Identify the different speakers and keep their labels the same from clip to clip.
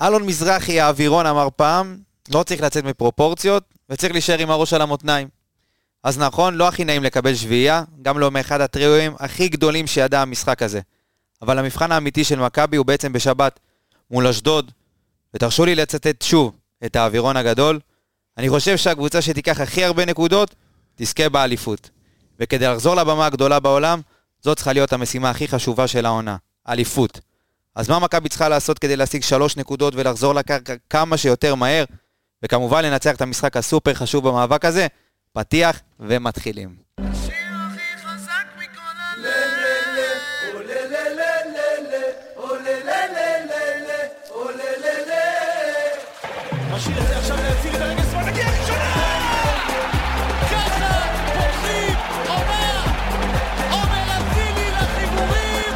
Speaker 1: אלון מזרחי האווירון אמר פעם, לא צריך לצאת מפרופורציות, וצריך להישאר עם הראש על המותניים. אז נכון, לא הכי נעים לקבל שביעייה, גם לא מאחד הטריואים הכי גדולים שידע המשחק הזה. אבל המבחן האמיתי של מכבי הוא בעצם בשבת, מול אשדוד. ותרשו לי לצטט שוב את האווירון הגדול. אני חושב שהקבוצה שתיקח הכי הרבה נקודות, תזכה באליפות. וכדי לחזור לבמה הגדולה בעולם, זאת צריכה להיות המשימה הכי חשובה של העונה, אליפות. אז מה מכבי צריכה לעשות כדי להשיג שלוש נקודות ולחזור לקרקע כמה שיותר מהר? וכמובן לנצח את המשחק הסופר חשוב במאבק הזה? פתיח ומתחילים.
Speaker 2: השיר הכי חזק מכל הלב.
Speaker 3: משאיר את זה עכשיו להציל את הרגל שמאל, נגיע ראשונה! ככה פותחים עונה! עומר אצילי לחיבורים!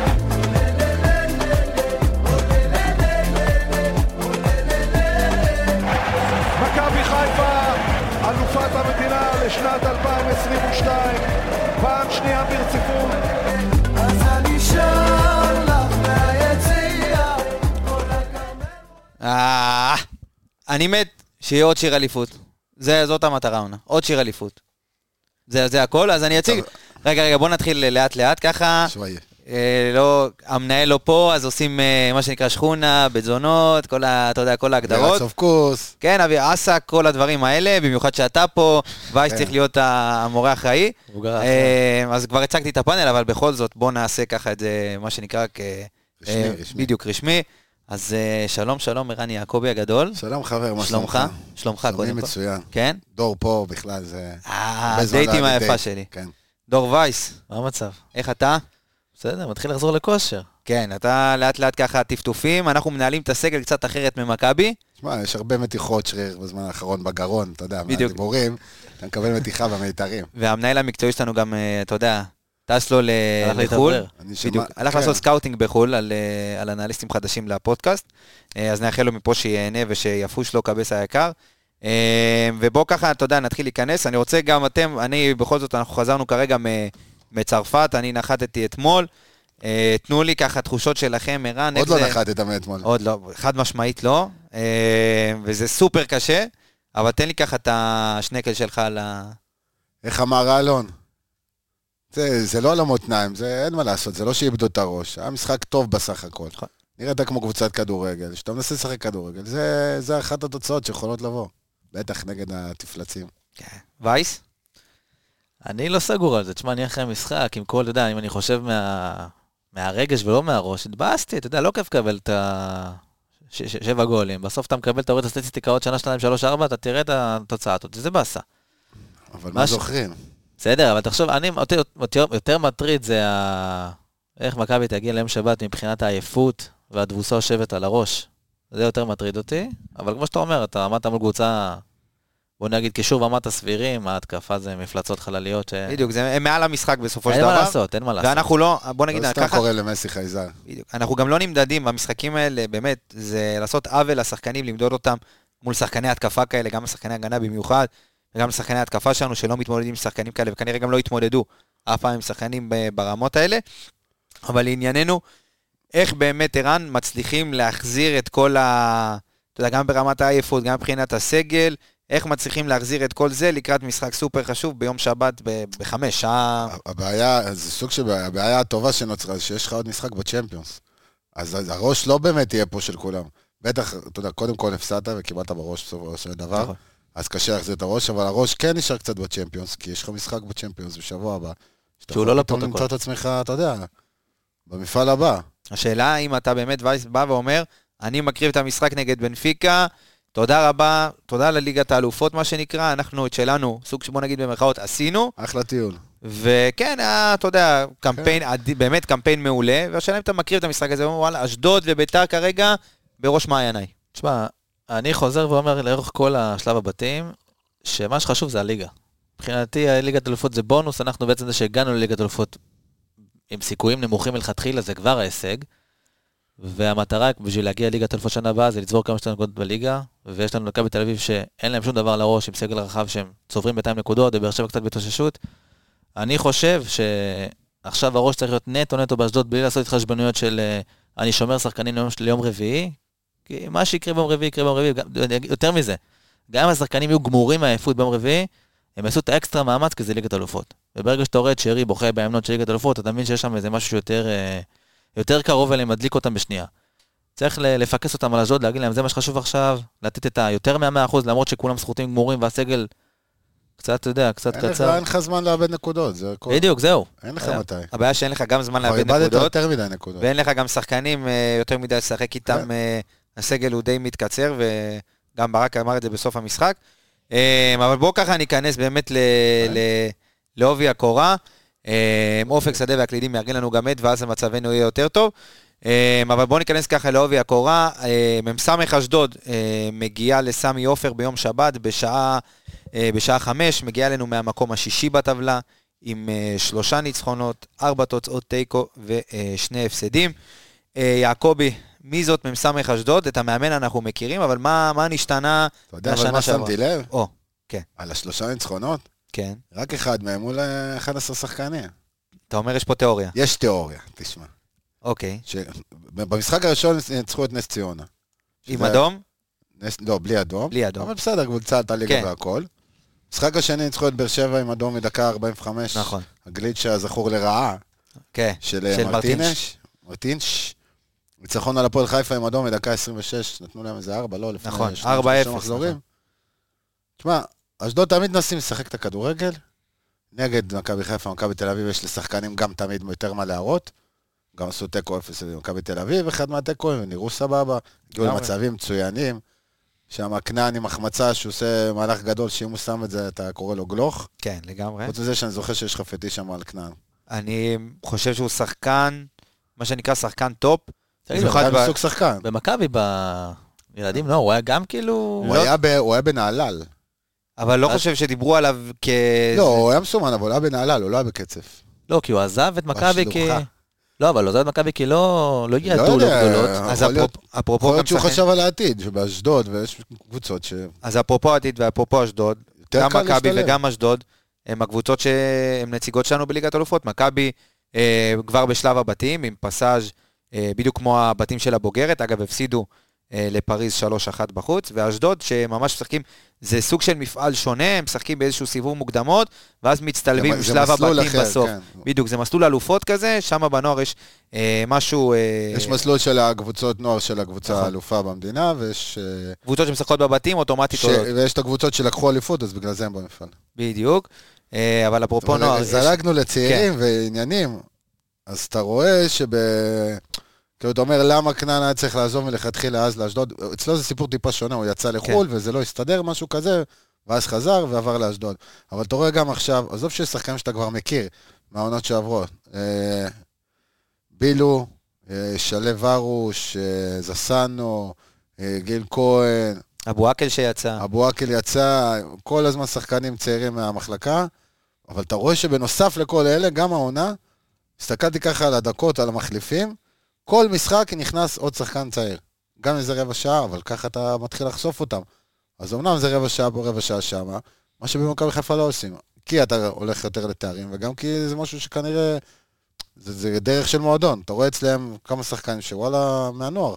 Speaker 4: מכבי חיפה, אלופת המדינה לשנת 2022, פעם שנייה ברציפות.
Speaker 2: אז אני שר לך מהיציע.
Speaker 1: אה, אני מת שיהיה עוד שיר אליפות. זה, זאת המטרה העונה, עוד שיר אליפות. זה, זה הכל, אז אני אציג. רגע, רגע, בוא נתחיל לאט לאט ככה.
Speaker 5: תשמע, יהיה.
Speaker 1: אה, לא, המנהל לא פה, אז עושים אה, מה שנקרא שכונה, בתזונות, כל ה... אתה יודע, כל ההגדרות.
Speaker 5: אוף קורס.
Speaker 1: כן, אבי עסק, כל הדברים האלה, במיוחד שאתה פה, וייש
Speaker 5: כן.
Speaker 1: צריך להיות המורה האחראי.
Speaker 6: מבוגר האחראי.
Speaker 1: אה, אז כבר הצגתי את הפאנל, אבל בכל זאת, בואו נעשה ככה את זה, מה שנקרא, כ...
Speaker 5: רשמי,
Speaker 1: אה,
Speaker 5: רשמי.
Speaker 1: בדיוק, רשמי. אז אה, שלום, שלום, ערן יעקבי הגדול.
Speaker 5: שלום חבר, מה
Speaker 1: שלומך?
Speaker 5: שלומך?
Speaker 1: שלומך, קודם כל.
Speaker 5: שלומי מצוין.
Speaker 1: כן?
Speaker 5: דור פה בכלל זה...
Speaker 1: אה,
Speaker 5: הרבה זמן לא
Speaker 1: הדייטים
Speaker 5: היה לי
Speaker 1: היפה
Speaker 5: דייט.
Speaker 1: שלי.
Speaker 5: כן.
Speaker 1: דור וייס,
Speaker 6: מה המצב?
Speaker 1: איך אתה?
Speaker 6: בסדר, מתחיל לחזור לכושר.
Speaker 1: כן, אתה לאט לאט ככה טפטופים, אנחנו מנהלים את הסגל קצת אחרת ממכבי.
Speaker 5: תשמע, יש הרבה מתיחות שריר בזמן האחרון בגרון, אתה יודע,
Speaker 1: בדיוק.
Speaker 5: מהדיבורים, אתה מקבל מתיחה במיתרים.
Speaker 1: והמנהל המקצועי שלנו גם, אה, אתה יודע, טס לו ל-
Speaker 6: הלך
Speaker 1: לחו"ל.
Speaker 6: להתאוורר.
Speaker 5: אני שמע-
Speaker 1: בדיוק, הלך
Speaker 5: כן.
Speaker 1: לעשות סקאוטינג בחו"ל על, אה, על אנליסטים חדשים לפודקאסט, אה, אז נאחל לו מפה שיהנה ושיפוש לו קבס היקר. אה, ובואו ככה, אתה יודע, נתחיל להיכנס. אני רוצה גם אתם, אני, בכל זאת, אנחנו חזרנו כרגע מ- מצרפת, אני נחתתי אתמול. אה, תנו לי ככה תחושות שלכם, ערן. איך
Speaker 5: עוד לא
Speaker 1: זה-
Speaker 5: נחתת מאתמול.
Speaker 1: עוד לא, חד משמעית לא, אה, וזה סופר קשה, אבל תן לי ככה את השנקל שלך על ה...
Speaker 5: איך אמר אלון? זה, זה לא על המותניים, זה אין מה לעשות, זה לא שאיבדו את הראש. היה משחק טוב בסך הכל.
Speaker 1: נכון.
Speaker 5: נראית כמו קבוצת כדורגל, שאתה מנסה לשחק כדורגל, זה, זה אחת התוצאות שיכולות לבוא. בטח נגד התפלצים.
Speaker 1: וייס?
Speaker 6: אני לא סגור על זה. תשמע, אני אחרי המשחק, עם כל, אתה יודע, אם אני חושב מה... מהרגש ולא מהראש, התבאסתי, אתה יודע, לא כיף לקבל את ה... ש- ש- שבע גולים. בסוף אתה מקבל, אתה רואה את הסטטיסטיקה עוד שנה, שנתיים, שלוש, ארבע, אתה תראה את התוצאה הזאת, זה באסה.
Speaker 5: אבל
Speaker 6: מה
Speaker 5: מה
Speaker 6: ש-
Speaker 5: זוכרים?
Speaker 6: בסדר, אבל תחשוב, אני, אותי יותר, יותר מטריד זה ה... איך מכבי תגיע ליום שבת מבחינת העייפות והתבוסה יושבת על הראש. זה יותר מטריד אותי, אבל כמו שאתה אומר, אתה עמדת מול קבוצה, בוא נגיד קישור ומטה סבירים, ההתקפה זה מפלצות חלליות, ש...
Speaker 1: בדיוק, זה הם מעל המשחק בסופו של
Speaker 6: כן. אין
Speaker 1: דבר.
Speaker 6: מה לעשות, אין מה לעשות.
Speaker 1: ואנחנו לא, בוא נגיד,
Speaker 5: לא סתם
Speaker 1: ככה,
Speaker 5: קורא למסי חייזר.
Speaker 1: בדיוק. אנחנו גם לא נמדדים, המשחקים האלה, באמת, זה לעשות עוול לשחקנים, למדוד אותם מול שחקני התקפה כאלה, גם לשחקני הגנה במיוחד, וגם לשחקני התקפה שלנו, שלא מתמודדים עם שחקנים כאלה, וכנראה גם לא יתמודדו אף פעם עם שחקנים ב- ברמות האלה. אבל לענייננו, איך באמת ערן מצליחים להחזיר את כל ה... אתה יודע, גם ברמת העייפות, גם מבחינת הסגל, איך מצליחים להחזיר את כל זה לקראת משחק סופר חשוב ביום שבת ב- בחמש, שעה...
Speaker 5: הבעיה, זה סוג של בעיה, הבעיה הטובה שנוצרה, זה שיש לך עוד משחק בצ'מפיונס. אז אז הראש לא באמת יהיה פה של כולם. בטח, אתה יודע, קודם כל הפסדת וקיבלת בראש בסופו של דבר,
Speaker 1: נכון.
Speaker 5: אז קשה להחזיר את הראש, אבל הראש כן נשאר קצת בצ'מפיונס, כי יש לך משחק בצ'מפיונס בשבוע הבא. שאתה
Speaker 6: שהוא
Speaker 5: יכול
Speaker 6: לא
Speaker 5: פתאום
Speaker 6: לפרוטוקול.
Speaker 5: למצוא את עצמך, אתה יודע, במפעל הבא.
Speaker 1: השאלה אם אתה באמת וייס בא ואומר, אני מקריב את המשחק נגד בנפיקה, תודה רבה, תודה לליגת האלופות מה שנקרא, אנחנו את שלנו, סוג שבוא נגיד במרכאות, עשינו,
Speaker 5: אחלה טיול.
Speaker 1: וכן, היה, אתה יודע, קמפיין,
Speaker 5: כן.
Speaker 1: עדי- באמת קמפיין מעולה, והשאלה אם אתה מקריב את המשחק הזה, ואומר, וואלה, אשדוד וביתר כרגע בראש מעייניי.
Speaker 6: תשמע, אני חוזר ואומר לאורך כל השלב הבתים, שמה שחשוב זה הליגה. מבחינתי הליגת אלופות זה בונוס, אנחנו בעצם זה שהגענו לליגת אלופות עם סיכויים נמוכים מלכתחילה, זה כבר ההישג. והמטרה בשביל להגיע לליגת אלופות שנה הבאה זה לצבור כמה שיותר נקודות בליגה, ויש לנו מכבי תל אביב שאין להם שום דבר על הראש עם סגל רחב שהם צוברים בינתיים נקודות, ובאר שבע קצת בהתאוששות. אני חושב שעכשיו הראש צריך להיות נטו נטו באשדוד בלי לעשות התחשבנויות של אה, אני שומר שחקנים ליום, ליום רביעי, כי מה שיקרה ביום רביעי יקרה ביום רביעי, גם- אני אגיד יותר מזה, גם אם השחקנים יהיו גמורים מהעייפות ביום רביעי, הם יעשו את האקסטרה מאמץ כי זה ליגת אלופות. וברגע שאתה רואה את שרי בוכה באמנות של ליגת אלופות, אתה מבין שיש שם איזה משהו שיותר אה, יותר קרוב אליהם, מדליק אותם בשנייה. צריך ל- לפקס אותם על אשדוד, להגיד להם זה מה שחשוב עכשיו, לתת את היותר מה-100%, למרות שכולם סחוטים גמורים והסגל קצת, אתה יודע, קצת
Speaker 5: אין לך-
Speaker 6: קצר.
Speaker 5: אין לך זמן לאבד נקודות, זה הכל.
Speaker 6: בדיוק, זהו.
Speaker 5: אין לך
Speaker 6: אה,
Speaker 5: מתי.
Speaker 1: הבעיה שאין לך גם זמן
Speaker 5: כבר
Speaker 1: לאבד
Speaker 5: איבדת
Speaker 1: נקודות,
Speaker 5: יותר מדי נקודות.
Speaker 1: ואין לך גם שחקנים אה, יותר מדי לשחק איתם, אה, הסגל הוא די מתקצר, וגם ברק אמר את זה בסוף המשחק. אה, אבל בואו ככה ניכנס באמת ל- ל- לעובי הקורה. אה, אופק שדה והקלידים יארגן לנו גם את, ואז מצבנו יהיה יותר טוב. אה, אבל בואו ניכנס ככה לעובי הקורה. אה, מ"ס אשדוד אה, מגיעה לסמי עופר ביום שבת בשעה, אה, בשעה חמש, מגיעה אלינו מהמקום השישי בטבלה. עם אה, שלושה ניצחונות, ארבע תוצאות תיקו ושני הפסדים. אה, יעקבי, מי זאת מ"ס אשדוד? את המאמן אנחנו מכירים, אבל מה, מה נשתנה
Speaker 5: אתה יודע אבל מה שמתי לב?
Speaker 1: או,
Speaker 5: על השלושה ניצחונות,
Speaker 1: כן.
Speaker 5: רק אחד מהם מול אה, 11 שחקנים.
Speaker 1: אתה אומר יש פה תיאוריה.
Speaker 5: יש תיאוריה, תשמע.
Speaker 1: אוקיי.
Speaker 5: ש- במשחק הראשון ניצחו את נס ציונה.
Speaker 1: עם
Speaker 5: שזה-
Speaker 1: אדום?
Speaker 5: נס- לא, בלי אדום.
Speaker 1: בלי אדום.
Speaker 5: אבל בסדר, קבוצה עלתה ליגה
Speaker 1: כן.
Speaker 5: והכל. משחק השני ניצחו את באר שבע עם אדום מדקה 45.
Speaker 1: נכון.
Speaker 5: הגליץ' הזכור לרעה
Speaker 1: כן.
Speaker 5: של
Speaker 1: של
Speaker 5: אה,
Speaker 1: מרטינש.
Speaker 5: מרטינש. מרטינש. ניצחון על הפועל חיפה עם אדום מדקה 26, נתנו להם איזה 4, לא? לפני
Speaker 1: נכון,
Speaker 5: שניים,
Speaker 1: 4-0,
Speaker 5: שלושה מחזורים.
Speaker 1: נכון.
Speaker 5: תשמע, אשדוד תמיד מנסים לשחק את הכדורגל. נגד מכבי חיפה, מכבי תל אביב, יש לשחקנים גם תמיד יותר מה להראות. גם עשו תיקו 0 למכבי תל אביב, אחד מהתיקואים, הם נראו סבבה, הגיעו
Speaker 1: לגמרי.
Speaker 5: למצבים מצוינים. שם כנען עם החמצה, שהוא עושה מהלך גדול, שאם הוא שם את זה, אתה קורא לו גלוך.
Speaker 1: כן, לגמרי.
Speaker 5: חוץ מזה שאני זוכר שיש לך פטיש שם על כנען.
Speaker 1: אני חושב שהוא שחקן, מה שנקרא שחקן טופ.
Speaker 6: תגיד,
Speaker 1: במיוחד
Speaker 5: הוא
Speaker 1: ב-
Speaker 5: סוג שחקן.
Speaker 6: במכבי, בילדים, לא, הוא היה גם כאילו...
Speaker 1: לא.
Speaker 5: הוא היה ב- הוא היה בנהלל.
Speaker 1: אבל לא
Speaker 6: אז-
Speaker 1: חושב שדיברו עליו כ...
Speaker 5: לא, הוא היה מסומן, אבל הוא היה בנהלל, הוא לא היה בקצף.
Speaker 6: לא, כי הוא עזב את מכבי כי...
Speaker 5: בשלוחה.
Speaker 6: לא, אבל הוא עזב את מכבי כי לא לא הגיע
Speaker 5: לא
Speaker 6: דולות
Speaker 5: יודע,
Speaker 6: גדולות.
Speaker 5: יכול
Speaker 1: אז
Speaker 5: להיות-
Speaker 1: אפרופו- אפרופו
Speaker 5: יכול
Speaker 1: גם
Speaker 5: להיות שהוא
Speaker 1: שחקן-
Speaker 5: חשב על העתיד, שבאשדוד, ויש קבוצות ש...
Speaker 1: אז אפרופו עתיד ואפרופו אשדוד,
Speaker 5: יותר
Speaker 1: גם
Speaker 5: קל
Speaker 1: מכבי
Speaker 5: להשתלב.
Speaker 1: וגם אשדוד, הם הקבוצות שהן נציגות שלנו בליגת אלופות. מכבי אה, כבר בשלב הבתים, עם פסאז' אה, בדיוק כמו הבתים של הבוגרת. אגב, הפסידו אה, לפריז 3-1 בחוץ, ואשדוד, שממש משחקים, זה סוג של מפעל שונה, הם משחקים באיזשהו סיבוב מוקדמות, ואז מצטלבים
Speaker 5: זה-
Speaker 1: עם
Speaker 5: זה
Speaker 1: שלב
Speaker 5: מסלול
Speaker 1: הבתים
Speaker 5: אחר,
Speaker 1: בסוף.
Speaker 5: כן.
Speaker 1: בדיוק, זה מסלול אלופות כזה, שם בנוער יש אה, משהו... אה,
Speaker 5: יש מסלול של הקבוצות נוער של הקבוצה
Speaker 1: נכון.
Speaker 5: האלופה במדינה, ויש אה,
Speaker 1: קבוצות שמשחקות בבתים, אוטומטית
Speaker 5: ש-
Speaker 1: עולות.
Speaker 5: ויש את הקבוצות שלקחו אליפות, אז בגלל זה הם במפעל.
Speaker 1: בדיוק. אה, אבל אפרופו
Speaker 5: אבל
Speaker 1: נוער, יש- כן.
Speaker 5: זלגנו לצעירים ועניינים, אז אתה רואה שב... כאילו, אתה אומר, למה כנען היה צריך לעזוב מלכתחילה אז לאשדוד? אצלו זה סיפור טיפה שונה, הוא יצא לחו"ל
Speaker 1: כן.
Speaker 5: וזה לא הסתדר, משהו כזה, ואז חזר ועבר לאשדוד. אבל אתה רואה גם עכשיו, עזוב שיש שחקנים שאתה כבר מכיר, מהעונות שעברו. אה, בילו, אה, שלו ארוש, אה, זסנו, אה, גיל כהן,
Speaker 1: אבו עקל שיצא.
Speaker 5: אבו עקל יצא, כל הזמן שחקנים צעירים מהמחלקה, אבל אתה רואה שבנוסף לכל אלה, גם העונה, הסתכלתי ככה על הדקות, על המחליפים, כל משחק נכנס עוד שחקן צעיר. גם איזה רבע שעה, אבל ככה אתה מתחיל לחשוף אותם. אז אמנם זה רבע שעה פה, רבע שעה שמה, מה שבמכבי חיפה לא עושים. כי אתה הולך יותר לתארים, וגם כי זה משהו שכנראה... זה, זה דרך של מועדון. אתה רואה אצלם כמה שחקנים שוואלה, מהנוער.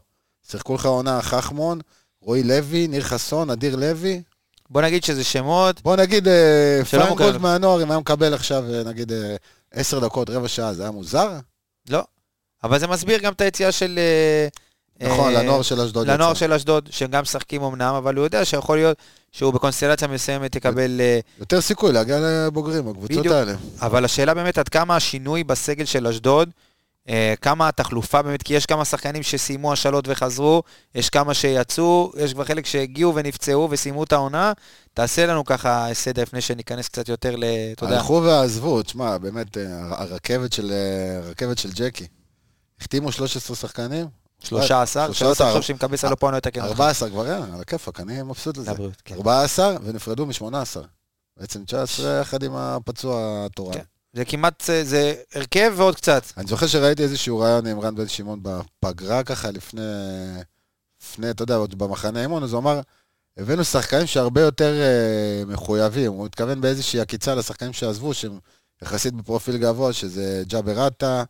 Speaker 5: שיחקו לך עונה חכמון, רועי לוי, ניר חסון, אדיר לוי.
Speaker 1: בוא נגיד שזה שמות,
Speaker 5: בוא נגיד אה,
Speaker 1: שלא מוכר
Speaker 5: פרנקולד
Speaker 1: לו.
Speaker 5: מהנוער, אם היה מקבל עכשיו, אה, נגיד, אה, עשר דקות, רבע שעה, זה היה מוזר?
Speaker 1: לא. אבל זה מסביר גם את היציאה של... אה,
Speaker 5: נכון,
Speaker 1: אה,
Speaker 5: לנוער של אשדוד.
Speaker 1: לנוער
Speaker 5: יצא.
Speaker 1: של אשדוד, שהם גם משחקים אמנם, אבל הוא יודע שיכול להיות שהוא בקונסטלציה מסוימת יקבל... אה,
Speaker 5: יותר סיכוי להגיע לבוגרים, הקבוצות
Speaker 1: בדיוק.
Speaker 5: האלה.
Speaker 1: אבל השאלה באמת עד כמה השינוי בסגל של אשדוד, אה, כמה התחלופה באמת, כי יש כמה שחקנים שסיימו השאלות וחזרו, יש כמה שיצאו, יש כבר חלק שהגיעו ונפצעו וסיימו את העונה. תעשה לנו ככה סדר לפני שניכנס קצת יותר ל... אתה יודע.
Speaker 5: הלכו ועזבו, תשמע, באמת, אה, הר- הרכבת של, אה, הרכבת של ג'קי. החתימו 13 שחקנים,
Speaker 1: 13, שלא
Speaker 5: 13.
Speaker 1: תחשוב שמקבס עליו פה אני לא אתקן אותך.
Speaker 5: 14 כבר אין, על הכיפאק, אני מבסוט לזה.
Speaker 1: לבריאות, כן.
Speaker 5: 14 ונפרדו מ-18. בעצם 19 יחד עם הפצוע התורן.
Speaker 1: כן. זה כמעט, אה, זה הרכב ועוד קצת.
Speaker 5: אני זוכר שראיתי איזשהו רעיון עם רן בן שמעון בפגרה ככה לפני, לפני, אתה יודע, עוד במחנה אימון, אז הוא אמר, הבאנו שחקנים שהרבה יותר אה, מחויבים. הוא התכוון באיזושהי עקיצה לשחקנים שעזבו, שהם יחסית בפרופיל גבוה, שזה ג'אבר עטה,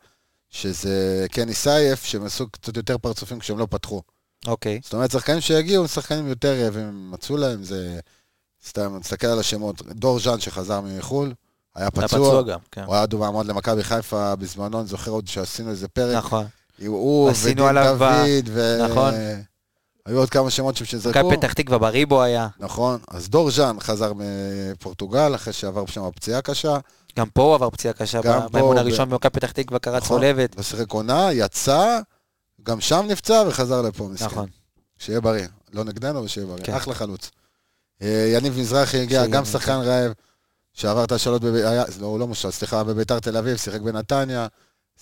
Speaker 5: שזה קני סייף, שהם עשו קצת יותר פרצופים כשהם לא פתחו.
Speaker 1: אוקיי.
Speaker 5: זאת אומרת, שחקנים שיגיעו הם שחקנים יותר רעבים, מצאו להם, זה... סתם, תסתכל על השמות, דור ז'אן שחזר מחו"ל, היה
Speaker 6: היה
Speaker 5: פצוע,
Speaker 6: גם, כן.
Speaker 5: הוא היה דומה מאוד למכבי חיפה בזמנו, אני זוכר עוד שעשינו איזה פרק,
Speaker 1: נכון.
Speaker 5: הוא
Speaker 1: עשינו
Speaker 5: ודין
Speaker 1: עליו ב-
Speaker 5: דוד, ו...
Speaker 1: נכון.
Speaker 5: היו עוד כמה שמות שם שנזרקו,
Speaker 1: מכבי פתח תקווה בריבו היה.
Speaker 5: נכון, אז דור ז'אן חזר מפורטוגל אחרי שעבר שם פציעה קשה,
Speaker 1: גם פה הוא עבר פציעה קשה.
Speaker 5: גם
Speaker 1: ב-
Speaker 5: פה,
Speaker 1: באימון
Speaker 5: ב-
Speaker 1: הראשון במכבי פתח תקווה קרא
Speaker 5: נכון.
Speaker 1: צולבת.
Speaker 5: ושיחק עונה, יצא, גם שם נפצע וחזר לפה, מסכן.
Speaker 1: נכון.
Speaker 5: שיהיה בריא. לא נגדנו, אבל שיהיה בריא.
Speaker 1: כן.
Speaker 5: כן. אחלה חלוץ. אה, יניב מזרחי הגיע,
Speaker 1: שיהיה
Speaker 5: גם
Speaker 1: בריא. כן.
Speaker 5: שחקן רעב, שעבר את השאלות, בב... היה... לא, הוא לא מושל, סליחה, בביתר תל אביב, שיחק בנתניה,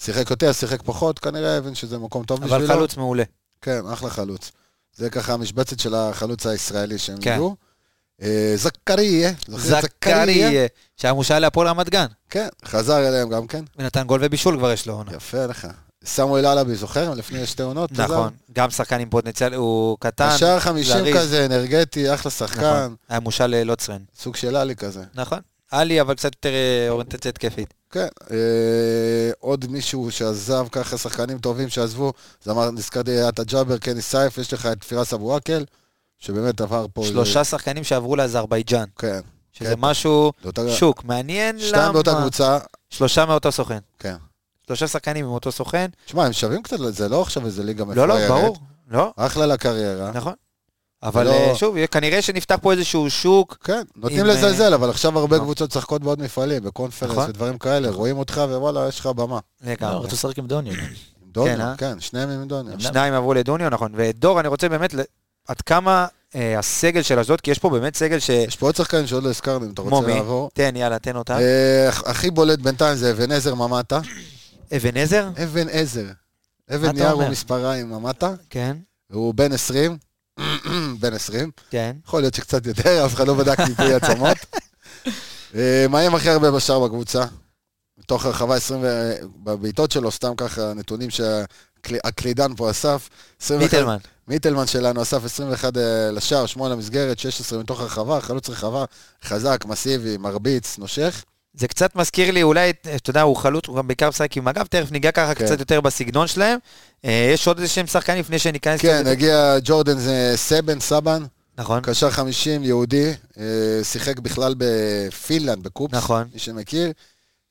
Speaker 5: שיחק יותר, שיחק פחות, כנראה הבין שזה מקום טוב
Speaker 1: אבל
Speaker 5: בשבילו.
Speaker 1: חלוץ מעולה.
Speaker 5: כן, אחלה חלוץ. זה ככה המשבצת של החלוץ הישראלי שהם
Speaker 1: כן.
Speaker 5: הגיעו. אה, זכריה, זוכר את
Speaker 1: זכריה, שהיה מושל להפועל רמת גן.
Speaker 5: כן, חזר אליהם גם כן.
Speaker 1: ונתן גול ובישול כבר יש לו עונה.
Speaker 5: יפה לך. סמואל אלאבי, זוכר? לפני שתי עונות. חזר?
Speaker 1: נכון. גם שחקן עם פוטנציאל, הוא קטן.
Speaker 5: השער 50
Speaker 1: זריז.
Speaker 5: כזה, אנרגטי, אחלה שחקן,
Speaker 1: נכון. היה מושל ללוצרן.
Speaker 5: סוג של עלי כזה.
Speaker 1: נכון. עלי, אבל קצת יותר אה, אוריינטציה התקפית.
Speaker 5: כן, אה, עוד מישהו שעזב ככה, שחקנים טובים שעזבו, זה אמר, נזכרתי, היה את הג'אבר, קני סייף, יש לך את פירס אבו עקל, שבאמת עבר פה...
Speaker 1: שלושה שחקנים שעברו לאזרבייג'אן.
Speaker 5: כן,
Speaker 1: שזה משהו,
Speaker 5: באותה...
Speaker 1: שוק. מעניין למה.
Speaker 5: שתיים באותה קבוצה,
Speaker 1: שלושה מאותו סוכן.
Speaker 5: כן.
Speaker 1: שלושה שחקנים עם אותו סוכן.
Speaker 5: תשמע, הם שווים קצת, זה לא עכשיו איזה ליגה מפוארת.
Speaker 1: לא, לא, ברור. לא,
Speaker 5: אחלה לקריירה.
Speaker 1: נכון. אבל
Speaker 5: אה. לא-
Speaker 1: אה, שוב, יהיה- כנראה שנפתח פה איזשהו שוק.
Speaker 5: כן, נוטים
Speaker 1: עם,
Speaker 5: לזלזל, אבל עכשיו הרבה
Speaker 1: נכון.
Speaker 5: קבוצות משחקות בעוד מפעלים, בקונפרנס
Speaker 1: נכון.
Speaker 5: ודברים כאלה, רואים אותך ווואלה, יש לך במה.
Speaker 6: לא,
Speaker 1: לגמרי.
Speaker 6: רצו לשחק עם דוניו.
Speaker 5: עם דוניו,
Speaker 1: כן, אה?
Speaker 5: כן, שניהם עם דוניו.
Speaker 1: שניים עברו לדוניו, נכון. ודור, אני רוצה באמת, ל- עד כמה אה, הסגל של אשדוד, כי יש פה באמת סגל ש...
Speaker 5: יש פה עוד שחקנים שעוד לא הזכרנו, אם אתה
Speaker 1: כמו
Speaker 5: רוצה
Speaker 1: מי?
Speaker 5: לעבור.
Speaker 1: תן, יאללה, תן אותה.
Speaker 5: אה, הכי בולט בינתיים זה אבן עזר ממטה. אה.
Speaker 1: אבן עזר?
Speaker 5: אבן עזר.
Speaker 1: מה
Speaker 5: אבן
Speaker 1: אתה
Speaker 5: נייר
Speaker 1: אומר?
Speaker 5: ומספריים ממטה,
Speaker 1: כן,
Speaker 5: הוא בן 20, בן 20,
Speaker 1: כן.
Speaker 5: יכול להיות שקצת יותר, אף אחד לא בדק ניפוי עצמות. אה, מאיים הכי הרבה בשער בקבוצה, מתוך הרחבה 20, ו- בבעיטות שלו, סתם ככה נתונים שהקלידן פה אסף. 21
Speaker 1: מיטלמן.
Speaker 5: מיטלמן שלנו אסף 21 אה, לשער, 8 למסגרת, 16 מתוך הרחבה, חלוץ רחבה, חזק, מסיבי, מרביץ, נושך.
Speaker 1: זה קצת מזכיר לי, אולי, אה, אתה יודע, הוא חלוץ, הוא גם בעיקר משחק עם הגב, תכף ניגע ככה
Speaker 5: כן.
Speaker 1: קצת יותר בסגנון שלהם. אה, יש עוד איזה שהם שחקנים לפני שניכנס
Speaker 5: כן,
Speaker 1: לזה.
Speaker 5: הגיע ג'ורדן אה, סבן, סבן,
Speaker 1: נכון,
Speaker 5: קשר 50, יהודי, אה, שיחק בכלל בפינלנד, בקופס,
Speaker 1: נכון.
Speaker 5: מי שמכיר.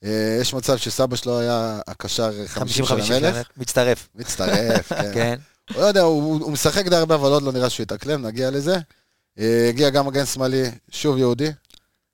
Speaker 5: אה, יש מצב שסבא שלו היה הקשר 50 של
Speaker 1: 50-50,
Speaker 5: המלך.
Speaker 1: מצטרף.
Speaker 5: מצטרף, כן.
Speaker 1: כן,
Speaker 5: הוא לא יודע, הוא הוא משחק די הרבה, אבל עוד לא נראה שהוא יתאקלם, נגיע לזה. אה, הגיע גם מגן שמאלי, שוב יהודי.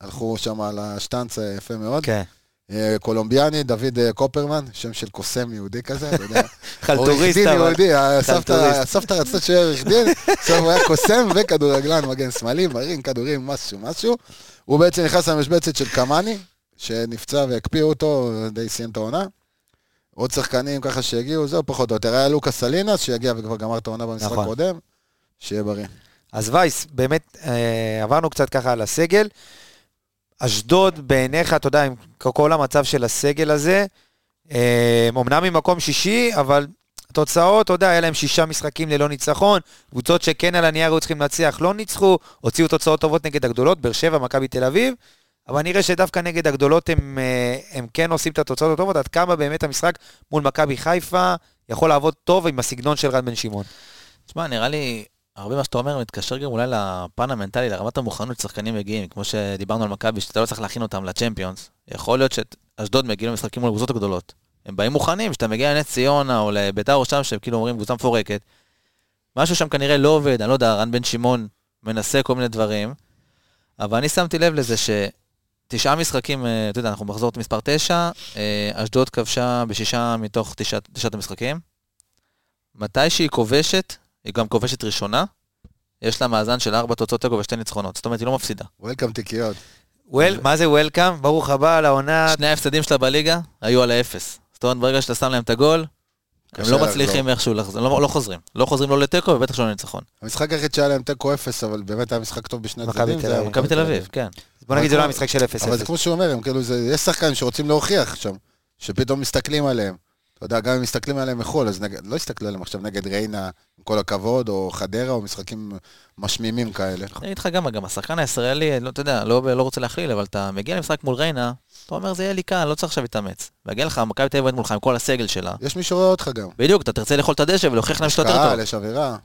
Speaker 5: הלכו שם על השטנץ היפה מאוד.
Speaker 1: כן.
Speaker 5: אה, קולומביאני, דוד אה, קופרמן, שם של קוסם יהודי כזה, אתה יודע. עורך
Speaker 1: חלטוריסט,
Speaker 5: דין
Speaker 1: אבל.
Speaker 5: יהודי, אה, הסבתא
Speaker 1: חלטוריסט.
Speaker 5: הסבתא רצתה שיהיה עורך דין, עכשיו הוא היה קוסם וכדורגלן, מגן שמאלי, מרים כדורים, משהו, משהו. הוא בעצם נכנס למשבצת של קמאני, שנפצע והקפיאו אותו, די סיים את העונה. עוד שחקנים ככה שהגיעו, זהו פחות או יותר. היה לוקה סלינס, שהגיע וכבר גמר את העונה במשחק
Speaker 1: נכון.
Speaker 5: הקודם, שיהיה בריא.
Speaker 1: אז וייס, באמת, אה, עברנו קצת ככה על הסגל. אשדוד, בעיניך, אתה יודע, עם כל המצב של הסגל הזה, אה, אומנם ממקום שישי, אבל התוצאות, אתה יודע, היה להם שישה משחקים ללא ניצחון, קבוצות שכן על הנייר היו צריכים לנצח, לא ניצחו, הוציאו תוצאות טובות נגד הגדולות, באר שבע, מכבי תל אביב, אבל נראה שדווקא נגד הגדולות הם, אה, הם כן עושים את התוצאות הטובות, עד כמה באמת המשחק מול מכבי חיפה יכול לעבוד טוב עם הסגנון של רן בן שמעון.
Speaker 6: תשמע, נראה לי, הרבה מה שאתה אומר מתקשר גם אולי לפן המנטלי, לרמת המוכנות ששחקנים מגיעים. כמו שדיברנו על מכבי, שאתה לא צריך להכין אותם לצ'מפיונס. יכול להיות שאשדוד מגיעים למשחקים מול הקבוצות הגדולות. הם באים מוכנים, כשאתה מגיע לנס ציונה או לביתר או שם, שהם כאילו אומרים קבוצה מפורקת. משהו שם כנראה לא עובד, אני לא יודע, רן בן שמעון מנסה כל מיני דברים. אבל אני שמתי לב לזה שתשעה משחקים, אה, אתה יודע, אנחנו מחזור מספר תשע, אה, אשדוד כבשה בשישה מתוך תשע- תשעת המשחקים. מתי שהיא כובשת, היא גם כובשת ראשונה, יש לה מאזן של ארבע תוצאות תיקו ושתי ניצחונות. זאת אומרת, היא לא מפסידה.
Speaker 5: וולקאם תיקיות.
Speaker 1: Well, מה זה וולקאם? ברוך הבא לעונה
Speaker 6: שני ההפסדים שלה בליגה היו על האפס. זאת אומרת, ברגע שאתה שם להם את הגול, הם
Speaker 5: קשה
Speaker 6: לא
Speaker 5: לחזור.
Speaker 6: מצליחים איכשהו לחזור, לא, לא חוזרים. לא חוזרים לא לתיקו ובטח שלא לניצחון.
Speaker 5: המשחק היחיד שהיה להם תיקו אפס, אבל באמת היה משחק טוב בשני
Speaker 1: מכבי
Speaker 5: הצדדים.
Speaker 1: תל
Speaker 5: זה היה
Speaker 1: אביב.
Speaker 6: מכבי תל אביב, כן.
Speaker 1: בוא נגיד זה לא המשחק של 0-0.
Speaker 5: אבל זה כמו שהוא אומר, הם כאילו, זה, יש שחקנים שרוצים להוכיח שם, שפתאום מסתכלים עליהם. אתה יודע, גם אם מסתכלים עליהם מחו"ל, אז נגד, לא יסתכלו עליהם עכשיו נגד ריינה, עם כל הכבוד, או חדרה, או משחקים משמימים כאלה.
Speaker 1: נכון.
Speaker 6: אני אגיד לך גם, גם השחקן הישראלי, לא, אתה יודע, לא, לא רוצה להכליל, אבל אתה מגיע למשחק מול ריינה, אתה אומר, זה יהיה לי קל, לא צריך עכשיו להתאמץ. מגיע לך, מכבי תל אביב מולך עם כל הסגל שלה.
Speaker 5: יש מי שרואה אותך גם.
Speaker 6: בדיוק, אתה תרצה לאכול את הדשא ולהוכיח להם
Speaker 5: יש
Speaker 6: שאתה יותר טוב.
Speaker 5: קהל, יש אווירה.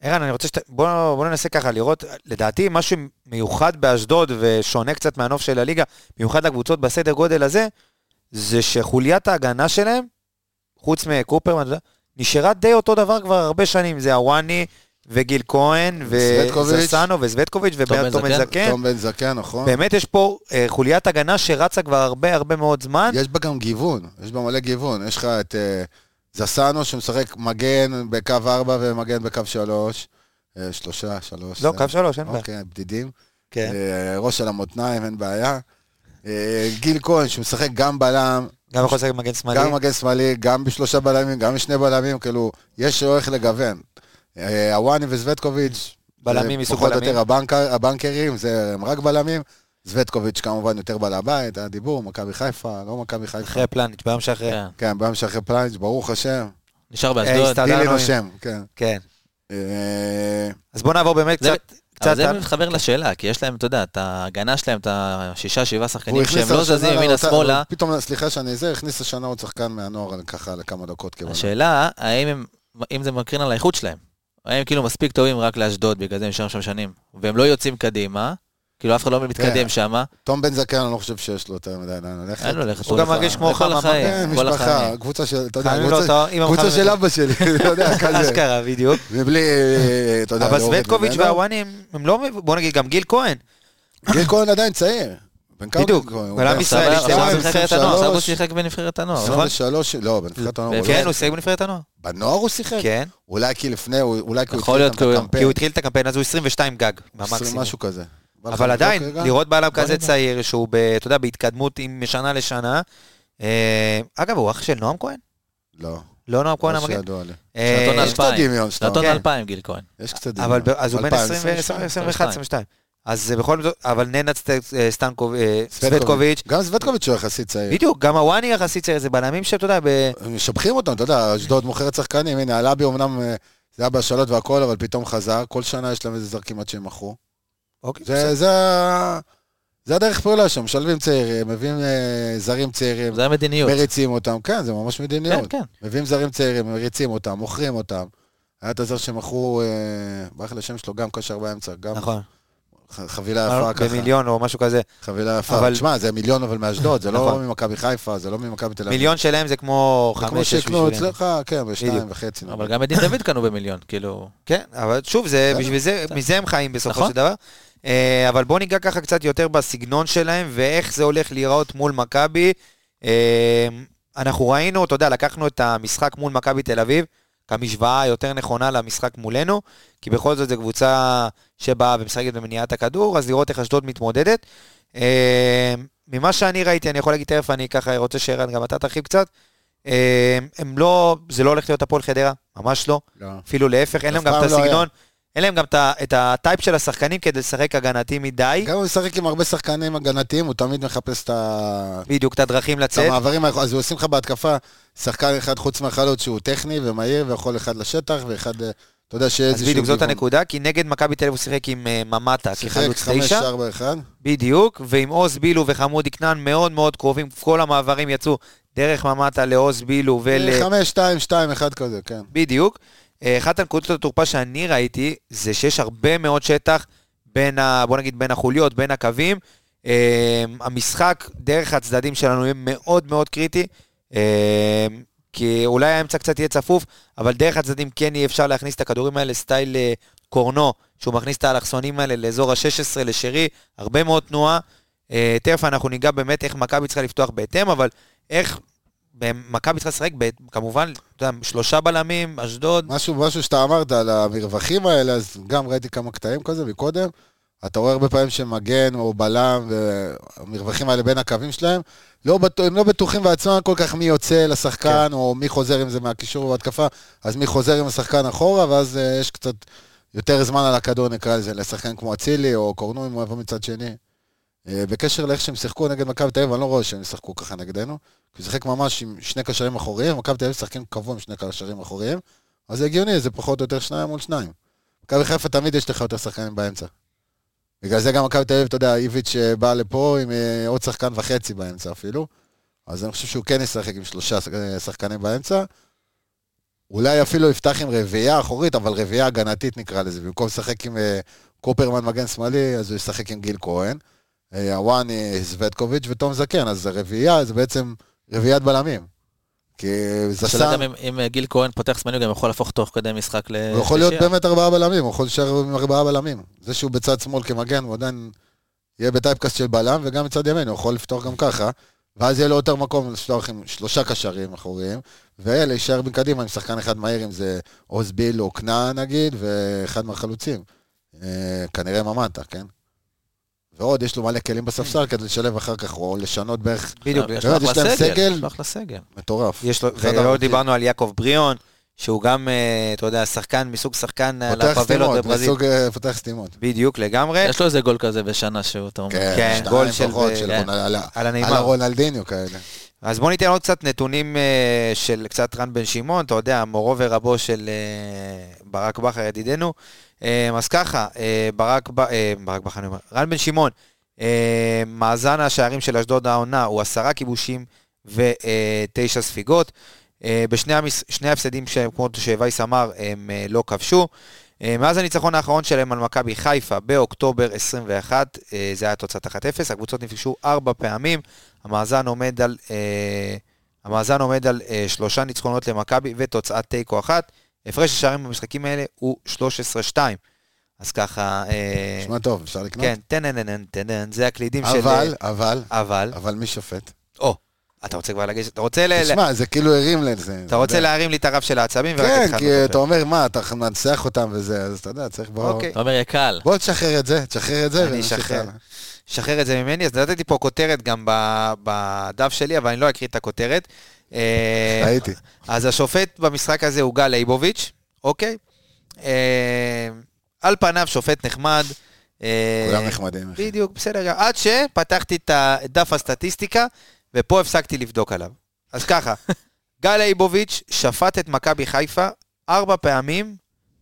Speaker 1: ערן, אני רוצה שת... בוא, בוא ננסה ככה לראות, לדעתי משהו מיוחד באשדוד ושונה קצת מהנוף של הליגה, מיוחד לקבוצות בסדר גודל הזה, זה שחוליית ההגנה שלהם, חוץ מקופרמן, אתה יודע, נשארה די אותו דבר כבר הרבה שנים, זה הוואני וגיל כהן
Speaker 5: וזבטקוביץ'.
Speaker 1: וזסנו וזווטקוביץ'
Speaker 6: בן
Speaker 1: ובן
Speaker 6: זקן.
Speaker 1: זקן.
Speaker 5: תום בן זקן, נכון?
Speaker 1: כן. באמת יש פה אה, חוליית הגנה שרצה כבר הרבה הרבה מאוד זמן.
Speaker 5: יש בה גם גיוון, יש בה מלא גיוון. יש לך את אה, זסנו שמשחק מגן בקו 4 ומגן בקו 3. שלושה, שלוש.
Speaker 1: לא,
Speaker 5: זה-
Speaker 1: קו שלוש, אין בעיה.
Speaker 5: אוקיי, בדידים.
Speaker 1: כן.
Speaker 5: אה, ראש על המותניים, אין בעיה. אה, גיל כהן, שמשחק גם בלם,
Speaker 1: גם יכול לשחק מגן שמאלי.
Speaker 5: גם מגן שמאלי, גם בשלושה בלמים, גם בשני בלמים, כאילו, יש לו איך לגוון. אה, הוואני וזווטקוביץ',
Speaker 1: בלמים
Speaker 5: זה
Speaker 1: מסוג
Speaker 5: פחות
Speaker 1: בלמים.
Speaker 5: או יותר הבנקר, הבנקרים, זה הם רק בלמים. זווטקוביץ' כמובן יותר בעל הבית, היה דיבור, מכבי חיפה, לא מכבי חיפה.
Speaker 1: אחרי פלניץ', ביום שאחרי.
Speaker 6: כן.
Speaker 5: כן, ביום שאחרי פליינג', ברוך השם.
Speaker 6: נשאר
Speaker 1: אה,
Speaker 6: באשדוד.
Speaker 1: הסתדר.
Speaker 5: דילי
Speaker 1: עם-
Speaker 5: נושם, כן.
Speaker 1: כן.
Speaker 5: אה,
Speaker 1: אז בוא נעבור באמת
Speaker 6: זה-
Speaker 1: קצת...
Speaker 6: אבל
Speaker 1: קצת
Speaker 6: זה
Speaker 1: על-
Speaker 6: מתחבר לשאלה, כי יש להם, אתה יודע, את ההגנה שלהם, את השישה, שבעה
Speaker 5: הוא
Speaker 6: שחקנים
Speaker 5: הכניס
Speaker 6: שהם לא
Speaker 5: השנה
Speaker 6: זזים ימינה
Speaker 5: לאותה-
Speaker 6: שמאלה.
Speaker 5: פתאום, סליחה שאני זה, הכניס השנה עוד שחקן מהנוער ככה לכמה דקות כבלם.
Speaker 6: השאלה, האם הם, אם זה מקרין על האיכות שלהם. האם כאילו מספיק טובים רק לאשדוד, בגלל זה הם נשארים שם שנים. והם לא יוצאים קדימה, כאילו אף אחד לא מתקדם
Speaker 1: כן.
Speaker 5: תראה,
Speaker 6: שם.
Speaker 5: תום בן זקן, אני לא חושב שיש לו יותר מדי לאן ללכת.
Speaker 6: אין לו ללכת.
Speaker 1: הוא גם מרגיש כמו
Speaker 6: כל
Speaker 1: חממה.
Speaker 5: כן,
Speaker 6: החיים, כל
Speaker 5: משפחה,
Speaker 6: החיים. לא,
Speaker 5: קבוצה של, אתה יודע,
Speaker 1: חייבים לו
Speaker 5: קבוצה-
Speaker 1: אותו עם
Speaker 5: קבוצה
Speaker 1: המחמם.
Speaker 5: של אבא שלי, אתה יודע, כזה.
Speaker 1: אשכרה, בדיוק.
Speaker 5: מבלי, אה, אתה יודע,
Speaker 1: אבל
Speaker 5: להוריד
Speaker 1: סווטקוביץ'
Speaker 5: ממנו.
Speaker 1: והוואני הם- הם לא... מב- בוא נגיד, גם גיל כהן.
Speaker 5: כן. גיל כהן עדיין צעיר. בן כמה
Speaker 1: בדיוק,
Speaker 5: גיל כהן? הוא
Speaker 1: בלם
Speaker 5: בן
Speaker 1: ישראלי,
Speaker 6: עכשיו
Speaker 1: שתיים,
Speaker 6: הוא בנבחרת הנוער, עכשיו הוא שיחק בנבחרת הנוער. נכון?
Speaker 5: 23, לא, בנבחרת הנוער.
Speaker 1: כן,
Speaker 5: אולי-
Speaker 1: הוא שיחק בנבחרת הנוער.
Speaker 5: בנוער הוא שיחק?
Speaker 1: כן.
Speaker 5: אולי כי לפני, הוא- אולי כי הוא
Speaker 6: יכול להיות, כי
Speaker 5: את
Speaker 6: הוא-
Speaker 5: הקמפיין.
Speaker 1: כי הוא התחיל את הקמפיין, אז הוא 22 גג,
Speaker 5: 20
Speaker 1: במקסימום.
Speaker 5: משהו כזה. בא לך
Speaker 1: אבל
Speaker 5: לבדוק
Speaker 1: עדיין,
Speaker 5: רגע?
Speaker 1: לראות בלם כזה
Speaker 6: נדע.
Speaker 1: צעיר, שהוא, ב- אתה יודע, בהתקדמות עם- משנה לשנה. אה, אגב, הוא אח של נועם כהן?
Speaker 5: לא,
Speaker 1: לא נועם כהן
Speaker 5: לא
Speaker 1: המגן.
Speaker 5: שידוע לי.
Speaker 1: אה,
Speaker 6: שנתון
Speaker 5: יש קצת
Speaker 6: אלפיים.
Speaker 5: דמיון שאתה
Speaker 6: נתון
Speaker 1: כן.
Speaker 6: 2000 גיל כהן.
Speaker 5: יש קצת דמיון.
Speaker 1: אבל ב- אז הוא בן
Speaker 5: 2000,
Speaker 1: 20,
Speaker 5: 22.
Speaker 1: 21, 22. אז אה, בכל זאת, אבל ננד אה, סטנקוביץ',
Speaker 5: סווטקוביץ'. אה. גם סווטקוביץ' הוא יחסית צעיר.
Speaker 1: בדיוק, גם הוואני יחסית צעיר, זה בלמים שאתה יודע, ב-
Speaker 5: הם משבחים אותם, אתה יודע, אשדוד מוכרת שחקנים, הנה, הלבי אמנם אה, זה היה בהשאלות והכל, אבל פתאום חזר, כל שנה יש להם איזה זרקים עד שהם מכרו.
Speaker 1: אוקיי, בסדר.
Speaker 5: זה, זה, ה- זה הדרך פעולה שם, משלבים צעירים, מביאים אה, זרים צעירים,
Speaker 6: זה המדיניות.
Speaker 5: מריצים אותם, כן, זה ממש מדיניות.
Speaker 6: כן, כן.
Speaker 5: מביאים זרים צעירים, מריצים אותם, מוכרים אותם. היה את הזר שמכרו, אה, ברח לי השם שלו, גם קשר באמצע, גם
Speaker 1: נכון, אה,
Speaker 5: ח- חבילה יפה ככה.
Speaker 1: במיליון או משהו כזה.
Speaker 5: חבילה יפה.
Speaker 1: אבל-
Speaker 5: אבל... תשמע, זה מיליון אבל מאשדוד, זה לא
Speaker 1: נכון.
Speaker 5: ממכבי חיפה, זה לא ממכבי תל אביב.
Speaker 1: מיליון שלהם זה כמו
Speaker 5: זה כמו
Speaker 1: חמש, שש
Speaker 5: שיקנו
Speaker 1: בשבילנו.
Speaker 5: אצלך, כן, בשתיים
Speaker 1: בדיוק.
Speaker 5: וחצי. נראה לי.
Speaker 6: אבל גם את דין דוד קנו במיליון, כאילו...
Speaker 1: כן, אבל שוב, זה
Speaker 5: בסדר.
Speaker 1: בשביל זה, מזה הם חיים בסופו
Speaker 6: נכון.
Speaker 1: של דבר. אה, אבל בואו ניגע ככה קצת יותר בסגנון שלהם, ואיך זה הולך להיראות מול מכבי. אה, אנחנו ראינו, אתה יודע, לקחנו את המשחק מול מכבי תל אביב, כמשוואה יותר נכונה למשחק מולנו, כי בכל זאת זו קבוצה שבאה ומשחקת במניעת הכדור, אז לראות איך אשדוד מתמודדת. אה, ממה שאני ראיתי, אני יכול להגיד תכף, אני ככה רוצה שערן, גם אתה תרחיב קצת. אה, הם לא, זה לא הולך להיות הפועל חדרה, ממש לא.
Speaker 5: לא.
Speaker 1: אפילו להפך, אין להם
Speaker 5: אף
Speaker 1: גם את
Speaker 5: פעם לא
Speaker 1: הסגנון, אין להם גם את ה- את הטייפ של השחקנים כדי לשחק הגנתי מדי,
Speaker 5: גם הוא משחק עם הרבה שחקנים הגנתיים, הוא תמיד מחפש את ה-
Speaker 1: בדיוק, את הדרכים
Speaker 5: את
Speaker 1: לצאת.
Speaker 5: המעברים, היכול- אז הוא עושים לך בהתקפה שחקן אחד חוץ מהחלוץ שהוא טכני ומהיר ויכול אחד לשטח ואחד, אה, אתה יודע שיהיה
Speaker 1: אז
Speaker 5: איזשהו...
Speaker 1: בדיוק, זאת
Speaker 5: גיוון.
Speaker 1: הנקודה, כי נגד מכבי תל אביב הוא שיחק עם אה, ממטה
Speaker 5: שיחק
Speaker 1: כחלוץ
Speaker 5: חמש,
Speaker 1: תשע,
Speaker 5: ארבע, אחד.
Speaker 1: בדיוק, ועם עוז בילו וחמודי כנען מאוד מאוד קרובים, כל המעברים יצאו דרך ממטה לעוז בילו ול...
Speaker 5: חמש, שתיים, שתיים, אחד כזה, כן.
Speaker 1: בדיוק. אה, אחת הנקודות התורפה שאני ראיתי, זה שיש הרבה מאוד שטח בין, ה, בוא נגיד, בין החוליות, בין הקווים. אה, המשחק דרך הצדדים שלנו יהיה מאוד מאוד קריטי, אה, כי אולי האמצע קצת יהיה צפוף, אבל דרך הצדדים כן יהיה אפשר להכניס את הכדורים האלה סטייל אה, קורנו, שהוא מכניס את האלכסונים האלה לאזור ה-16 לשרי, הרבה מאוד תנועה. אה, תכף אנחנו ניגע באמת איך מכבי צריכה לפתוח בהתאם, אבל איך מכבי צריכה לשחק, ב- כמובן, אתה יודע, שלושה בלמים, אשדוד,
Speaker 5: משהו, משהו שאתה אמרת על המרווחים האלה, אז גם ראיתי כמה קטעים כזה מקודם. אתה רואה הרבה פעמים שמגן או בלם, והמרווחים האלה בין הקווים שלהם, לא בטוח, הם לא בטוחים בעצמם כל כך מי יוצא לשחקן, כן. או מי חוזר עם זה מהקישור בהתקפה, אז מי חוזר עם השחקן אחורה, ואז uh, יש קצת יותר זמן על הכדור, נקרא לזה, לשחקן כמו אצילי, או קורנו אם הוא יבוא מצד שני. Uh, בקשר לאיך שהם שיחקו נגד מכבי תל אביב, אני לא רואה שהם ישחקו ככה נגדנו, כי הוא שיחק ממש עם שני קשרים אחוריים, מכבי תל אביב משחקים קבוע עם שני קשרים אחוריים, אז זה הגיוני, זה פחות או יותר שניים מול שניים. מכבי חיפה תמיד יש לך יותר שחקנים באמצע. בגלל זה גם מכבי תל אביב, אתה יודע, איביץ' אה, בא לפה עם אה, עוד שחקן וחצי באמצע אפילו. אז אני חושב שהוא כן ישחק עם שלושה שח- אה, שחקנים באמצע. אולי אפילו יפתח עם רביעייה אחורית, אבל רביעייה הגנתית נקרא לזה. במקום לשחק עם אה, קופרמן מגן שמאלי, אז הוא ישחק עם גיל כהן. אה, הוואני זווטקוביץ' ותום זקן, אז הרביעייה זה בעצם רביעיית בלמים. כי
Speaker 6: השאלה
Speaker 5: זסן,
Speaker 6: גם לא אם- אם אה, גיל כהן פותח זמני, הוא גם יכול להפוך תוך כדי משחק לא, לשלישייה.
Speaker 5: הוא יכול להיות באמת ארבעה בלמים, הוא יכול להישאר עם ארבעה בלמים. זה שהוא בצד שמאל כמגן, הוא עדיין יהיה בטייפקאסט של בלם, וגם מצד ימין, הוא יכול לפתוח גם ככה. ואז יהיה לו יותר מקום לפתוח עם שלושה קשרים אחוריים, ולהישאר מקדימה עם שחקן אחד מהיר, אם זה אוזביל או כנען נגיד, ואחד מהחלוצים. אה, כנראה ממטה, כן? ועוד, יש לו מלא כלים בספסל כדי לשלב אחר כך, או לשנות בערך
Speaker 1: בדיוק.
Speaker 6: יש
Speaker 5: באמת,
Speaker 6: לו
Speaker 5: יש להם
Speaker 6: אחלה
Speaker 5: סגל.
Speaker 6: סגל. יש לו אחלה סגל.
Speaker 5: מטורף.
Speaker 1: יש לו,
Speaker 5: אחד
Speaker 1: ולא
Speaker 5: הארוכים.
Speaker 1: דיברנו על יעקב בריאון, שהוא גם, אה, אתה יודע, שחקן מסוג שחקן אה,
Speaker 5: פותח
Speaker 1: לפאבלות
Speaker 5: סתימות,
Speaker 1: בברזיל.
Speaker 5: מסוג אה, פותח סתימות.
Speaker 1: בדיוק, לגמרי.
Speaker 6: יש לו איזה גול כזה בשנה שהוא, אתה אומר.
Speaker 1: כן,
Speaker 5: כן,
Speaker 1: גול
Speaker 5: שתיים
Speaker 1: של-
Speaker 5: פחות,
Speaker 1: כן.
Speaker 5: של רונל-
Speaker 1: על
Speaker 5: על
Speaker 1: הנעימה.
Speaker 5: הרונלדיניו כאלה.
Speaker 1: אז בוא ניתן עוד קצת נתונים אה, של קצת רן בן שמעון, אתה יודע, מורו ורבו של אה, ברק בכר ידידנו. אה, אז ככה, אה, ברק, ב- אה, ברק בכר, אני אומר, רן בן שמעון, אה, מאזן השערים של אשדוד העונה הוא עשרה כיבושים ותשע ספיגות. אה, בשני המס- שני ההפסדים שלהם, כמו שווייס אמר, הם אה, לא כבשו. אה, מאז הניצחון האחרון שלהם על מכבי חיפה באוקטובר 21, אה, זה היה תוצאת 1-0, הקבוצות נפגשו ארבע פעמים, המאזן עומד על, אה, המאזן עומד על אה, שלושה ניצחונות למכבי ותוצאת תיקו אחת. הפרש השערים במשחקים האלה הוא 13-2. אז ככה, אה,
Speaker 5: נשמע טוב, אפשר לקנות?
Speaker 1: כן, טנננן, טנננן, זה הקלידים של... אה,
Speaker 5: אבל, אבל,
Speaker 1: אבל,
Speaker 5: אבל מי שופט?
Speaker 1: או, אתה רוצה כבר לגשת, אתה רוצה אה, ל...
Speaker 5: תשמע, זה כאילו הרים לזה.
Speaker 1: אתה רוצה להרים לי את הרף של העצבים, ורק
Speaker 5: כן,
Speaker 1: התחלנו
Speaker 5: כי
Speaker 1: לדבר.
Speaker 5: אתה אומר, מה, אתה מנצח אותם וזה, אז אתה יודע, צריך בוא...
Speaker 1: אוקיי.
Speaker 6: אתה אומר, יא קל.
Speaker 5: בוא תשחרר את זה, תשחרר את זה.
Speaker 1: אני
Speaker 5: ונמשיך
Speaker 1: אשחרר.
Speaker 5: הלאה.
Speaker 1: שחרר את זה ממני, אז נתתי פה כותרת גם ב- בדף שלי, אבל אני לא אקריא את הכותרת. אה,
Speaker 5: ראיתי.
Speaker 1: אז השופט במשחק הזה הוא גל לייבוביץ', אוקיי? אה, על פניו שופט נחמד. אה,
Speaker 5: כולם נחמדים. אחי.
Speaker 1: בדיוק, בסדר. גם. עד שפתחתי את דף הסטטיסטיקה, ופה הפסקתי לבדוק עליו. אז ככה, גל לייבוביץ' שפט את מכבי חיפה ארבע פעמים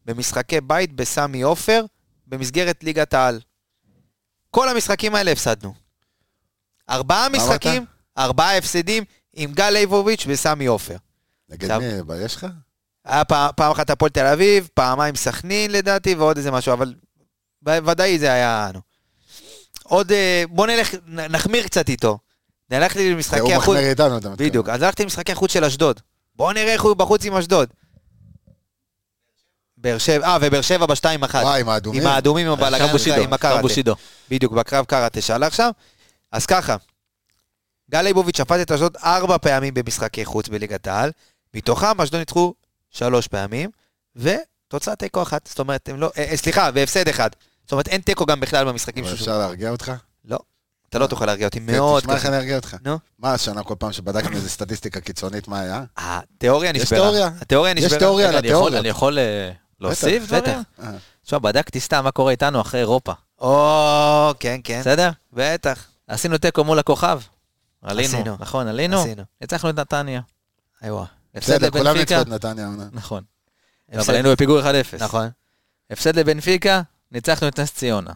Speaker 1: במשחקי בית בסמי עופר, במסגרת ליגת העל. כל המשחקים האלה הפסדנו. ארבעה
Speaker 5: אמרת?
Speaker 1: משחקים, ארבעה הפסדים עם גל לייבוביץ' בסמי עופר.
Speaker 5: נגד
Speaker 1: טוב.
Speaker 5: מי? ב- יש לך?
Speaker 1: היה פעם, פעם אחת הפועל תל אביב, פעמיים סכנין לדעתי, ועוד איזה משהו, אבל ב- ודאי זה היה... נו. עוד... אה, בוא נלך, נ- נחמיר קצת איתו. נלך לי
Speaker 5: זה הוא
Speaker 1: למשחקי החוץ...
Speaker 5: מחמיר איתנו, אתה מתכוון.
Speaker 1: בדיוק, אז הלכתי למשחקי החוץ של אשדוד. בואו נראה איך הוא בחוץ עם אשדוד. באר שבע, אה, ובאר שבע בשתיים אחת.
Speaker 5: וואי, עם האדומים.
Speaker 1: עם האדומים, עם הבלגן,
Speaker 6: קרבושידו,
Speaker 1: עם הקראטה.
Speaker 6: קרבושידו.
Speaker 1: בדיוק, בקרב קראטה שעלה עכשיו. אז ככה, גל ליבוביץ' שפט את אשדוד ארבע פעמים במשחקי חוץ בליגת העל, מתוכם אשדוד ניצחו שלוש פעמים, ותוצאה תיקו אחת, זאת אומרת, הם לא, אה, אה, סליחה, והפסד אחד. זאת אומרת, אין תיקו גם בכלל במשחקים
Speaker 5: אבל
Speaker 1: שלו.
Speaker 5: אפשר להרגיע אותך? כן,
Speaker 1: לא, אתה לא תוכל להרגיע אותי מאוד.
Speaker 5: תשמע איך
Speaker 1: ככה.
Speaker 5: אני ארגיע אותך.
Speaker 1: נו.
Speaker 5: מה השנה כל פעם שבדקנו איזה סטטיסטיקה קיצונית, מה היה?
Speaker 1: התיאוריה
Speaker 5: יש
Speaker 1: נשברה.
Speaker 5: תיאוריה.
Speaker 1: התיאוריה
Speaker 5: יש
Speaker 1: נשברה.
Speaker 5: תיאוריה. על
Speaker 6: רגע, אני יכול-
Speaker 5: התיאוריות.
Speaker 6: אני יכול אה, להוסיף
Speaker 1: בטח.
Speaker 6: דברים?
Speaker 5: אה.
Speaker 6: תשמע, בדקתי סתם מה קורה איתנו אחרי אירופה,
Speaker 1: או, כן, כן.
Speaker 6: בסדר?
Speaker 1: בטח.
Speaker 6: עשינו תיקו מול הכוכב. עלינו,
Speaker 1: עשינו.
Speaker 6: נכון, עלינו.
Speaker 1: עשינו.
Speaker 6: ניצחנו את נתניה.
Speaker 1: איווה.
Speaker 6: הפסד
Speaker 5: בסדר, כולם ניצחו
Speaker 6: לבנפיקה.
Speaker 5: את נתניה העונה.
Speaker 6: נכון.
Speaker 1: הפסד.
Speaker 6: אבל היינו בפיגור 1-0.
Speaker 1: נכון.
Speaker 6: הפסד לבנפיקה, ניצחנו את נס ציונה.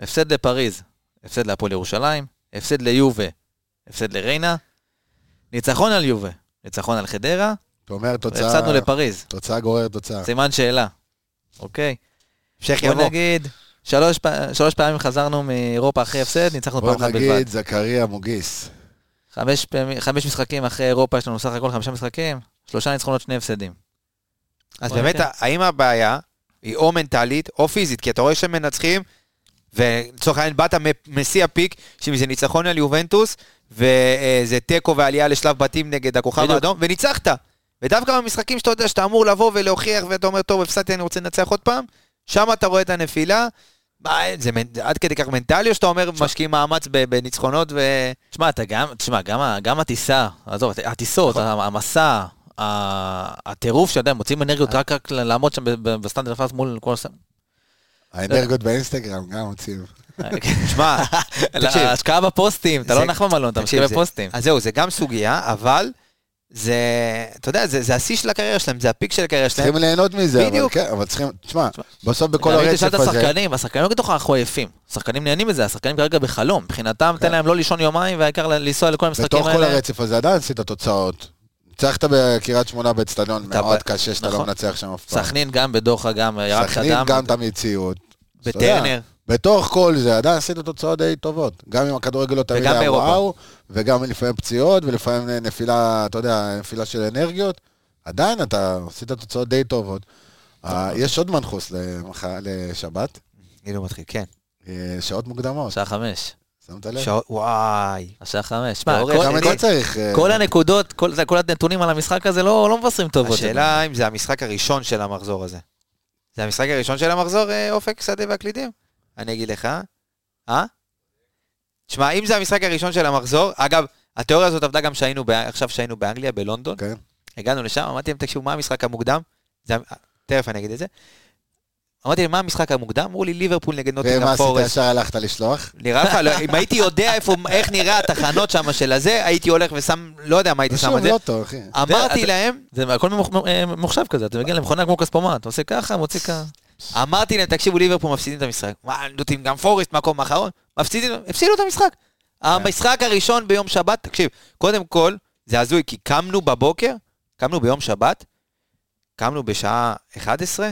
Speaker 6: הפסד לפריז, הפסד להפועל ירושלים, הפסד ליובה, הפסד לריינה, ניצחון על יובה, ניצחון על חדרה,
Speaker 5: אתה אומר, תוצאה...
Speaker 6: והפסדנו לפריז.
Speaker 5: תוצאה גוררת תוצאה.
Speaker 6: סימן שאלה. אוקיי.
Speaker 1: המשך
Speaker 6: בוא
Speaker 1: יבוא.
Speaker 6: נגיד, שלוש פע- שלוש פעמים חזרנו מאירופה אחרי הפסד, ניצחנו פעם
Speaker 5: בוא
Speaker 6: אחת בלבד.
Speaker 5: נגיד, זכריה מוגיס.
Speaker 6: חמש פעמים- חמש משחקים אחרי אירופה, יש לנו סך הכל חמישה משחקים, שלושה ניצחונות, שני הפסדים.
Speaker 1: אז
Speaker 6: בוא
Speaker 1: באמת,
Speaker 6: ניתן.
Speaker 1: האם הבעיה היא או מנטלית או פיזית? כי אתה רואה שהם מנצחים, ולצורך העניין באת מ- משיא הפיק, שאם זה ניצחון על יובנטוס, וזה תיקו ועלייה לשלב בתים נגד הכוכב
Speaker 6: בדיוק.
Speaker 1: האדום, וניצחת. ודווקא במשחקים שאתה יודע שאתה אמור לבוא ולהוכיח, ואתה אומר, טוב, הפסדתי, אני רוצה לנצח עוד פעם, שם אתה רואה את הנפילה. מה, זה מנ- זה עד כדי כך מנטלי, או שאתה אומר, משקיעים מאמץ ב- בניצחונות ו...
Speaker 6: תשמע, אתה גם, תשמע, גם, ה- גם הטיסה, עזוב, הט- הטיסות, ה- המסע, ה- הטירוף שעדיין מוצאים אנרגיות רק, רק ל- לעמוד שם ב- ב- בסטנדרט הפלאס מול כל הס...
Speaker 5: האנרגיות באינסטגרם גם הוציאו.
Speaker 6: כן. לא,
Speaker 1: שמע, תקשיב.
Speaker 6: ההשקעה בפוסטים, אתה
Speaker 1: זה-
Speaker 6: לא נח במלון, אתה
Speaker 1: תקשיב,
Speaker 6: משקיע
Speaker 1: זה-
Speaker 6: בפוסטים.
Speaker 1: אז זהו, זה גם סוגיה, אבל זה, אתה יודע, זה זה השיא של הקריירה שלהם, זה הפיק של הקריירה שלהם.
Speaker 5: צריכים ליהנות מזה, אבל
Speaker 1: בדיוק.
Speaker 5: כן, אבל צריכים, תשמע, בסוף בכל
Speaker 6: גם אם תשאל
Speaker 5: הרצף
Speaker 6: את
Speaker 5: הזה,
Speaker 6: השחקנים, השחקנים לא כתוב אנחנו עייפים. השחקנים נהנים מזה, השחקנים כרגע בחלום. מבחינתם, תן להם לא לישון יומיים, והעיקר ל- לנסוע לכל המשחקים
Speaker 5: בתוך כל
Speaker 6: האלה.
Speaker 5: הרצף הזה עדיין עשית תוצאות. ניצחת בקריית שמונה באצטדיון
Speaker 6: אתה
Speaker 5: מאוד
Speaker 6: ב-
Speaker 5: קשה שאתה לא
Speaker 6: נכון.
Speaker 5: מנצח שם אף פעם.
Speaker 6: סכנין גם בדוחה, גם ירקת
Speaker 5: סכנין
Speaker 6: דם.
Speaker 5: גם את המציאות. אתה יודע,
Speaker 6: בטרנר.
Speaker 5: בתוך כל זה, עדיין עשית תוצאות די טובות. גם אם הכדורגל לא תמיד
Speaker 1: וגם
Speaker 5: היה
Speaker 1: באירופה.
Speaker 5: וואו, וגם לפעמים פציעות, ולפעמים נפילה, אתה יודע, נפילה של אנרגיות, עדיין אתה עשית תוצאות די טובות. אה, יש עוד מנחוס למח- לשבת,
Speaker 1: כאילו מתחיל, כן.
Speaker 5: אה, שעות מוקדמות,
Speaker 6: השעה חמש.
Speaker 5: שמת לב?
Speaker 1: שעות, וואי.
Speaker 6: השעה חמש. שמע,
Speaker 1: ואורן,
Speaker 6: כל-
Speaker 5: לא גם את
Speaker 6: כל-
Speaker 5: זה צריך. אה,
Speaker 6: כל הנקודות, כל זה- כל הנתונים על המשחק הזה לא לא מבשרים טובות.
Speaker 1: השאלה אם זה המשחק הראשון של המחזור הזה. זה המשחק הראשון של המחזור, אה, אופק שדה והקלידים? אני אגיד לך. אה? תשמע, אם זה המשחק הראשון של המחזור, אגב, התיאוריה הזאת עבדה גם שהיינו בא- עכשיו שהיינו באנגליה, בלונדון.
Speaker 5: כן.
Speaker 1: הגענו לשם, אמרתי להם, תקשיבו, מה המשחק המוקדם? זה, ה- תכף אני אגיד את זה. אמרתי להם, מה המשחק המוקדם? אמרו לי, ליברפול נגד
Speaker 5: ומה
Speaker 1: נוטינגרם
Speaker 5: עשית?
Speaker 1: פורסט.
Speaker 5: ישר הלכת לשלוח?
Speaker 1: נראה לך, לא, אם הייתי יודע איפה, איך נראה התחנות שם של הזה, הייתי הולך ושם, לא יודע מה הייתי שם
Speaker 5: שום
Speaker 1: את זה.
Speaker 5: לוטו, אחי.
Speaker 1: אמרתי
Speaker 6: אתה-
Speaker 1: להם,
Speaker 6: זה הכל ממוח- אה, ממוחשב כזה, אתה מגיע למכונה כמו כספומט, אתה עושה ככה, מוציא ככה.
Speaker 1: אמרתי להם, תקשיבו, ליברפול מפסידים את המשחק. מה, נוטינגרם פורסט, מקום אחרון, מפסידים, הפסידו את המשחק.
Speaker 6: כן.
Speaker 1: המשחק הראשון ביום שבת, תקשיב, קודם כל, זה הזוי, כי קמנו בבוקר, קמנו ביום שבת, קמנו בשעה 11,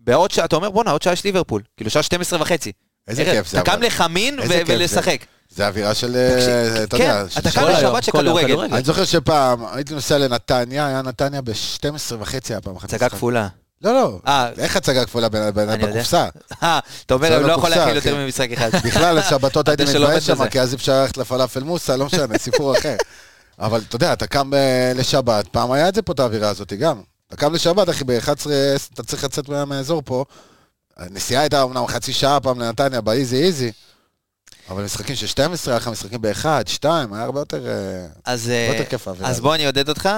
Speaker 1: בעוד שעה, אתה אומר, בואנה, עוד שעה יש ליברפול, כאילו שעה 12 וחצי.
Speaker 5: איזה
Speaker 1: ארז,
Speaker 5: כיף זה,
Speaker 1: אתה
Speaker 5: אבל.
Speaker 1: קם לחמין ו-
Speaker 5: איזה כיף זה.
Speaker 1: ולשחק.
Speaker 5: זה אווירה של, אה, אתה
Speaker 1: כן,
Speaker 5: יודע, של
Speaker 1: אתה
Speaker 5: שבת.
Speaker 1: קם
Speaker 6: כל היום,
Speaker 1: לשבת של
Speaker 6: כל יום
Speaker 1: כדורגל.
Speaker 6: כדורגל.
Speaker 5: אני זוכר שפעם הייתי נוסע לנתניה, היה נתניה ב-12 וחצי הפעם אחת.
Speaker 1: הצגה כפולה.
Speaker 5: לא, לא.
Speaker 1: אה,
Speaker 5: איך הצגה כפולה בין- בין-
Speaker 1: אני יודע.
Speaker 5: בקופסה?
Speaker 1: אה, אתה אומר,
Speaker 5: זה כן.
Speaker 1: אני לא יכול
Speaker 5: בקופסה,
Speaker 1: להכיל
Speaker 5: אחי.
Speaker 1: יותר ממשחק אחד.
Speaker 5: בכלל, בשבתות הייתי
Speaker 1: אתה שלא
Speaker 5: מתבייש
Speaker 1: עובד
Speaker 5: שם,
Speaker 1: בזה.
Speaker 5: כי אז אפשר ללכת לפלאפל מוסה, לא משנה, סיפור אחר. אבל אתה יודע, אתה קם אה, לשבת, פעם היה את זה פה, את האווירה הזאת גם. אתה קם לשבת, אחי, ב-11, אתה צריך לצאת מה- מהאזור פה. הנסיעה הייתה אמנם חצי שעה פעם לנתניה, באיזי איזי. אבל משחקים של 12, היה לך משחקים ב-1, 2, היה הרבה יותר... אה,
Speaker 1: אז,
Speaker 5: הרבה
Speaker 1: אה,
Speaker 5: יותר כיף האווירה.
Speaker 1: אז
Speaker 5: הזאת.
Speaker 1: בוא אני אעודד אותך,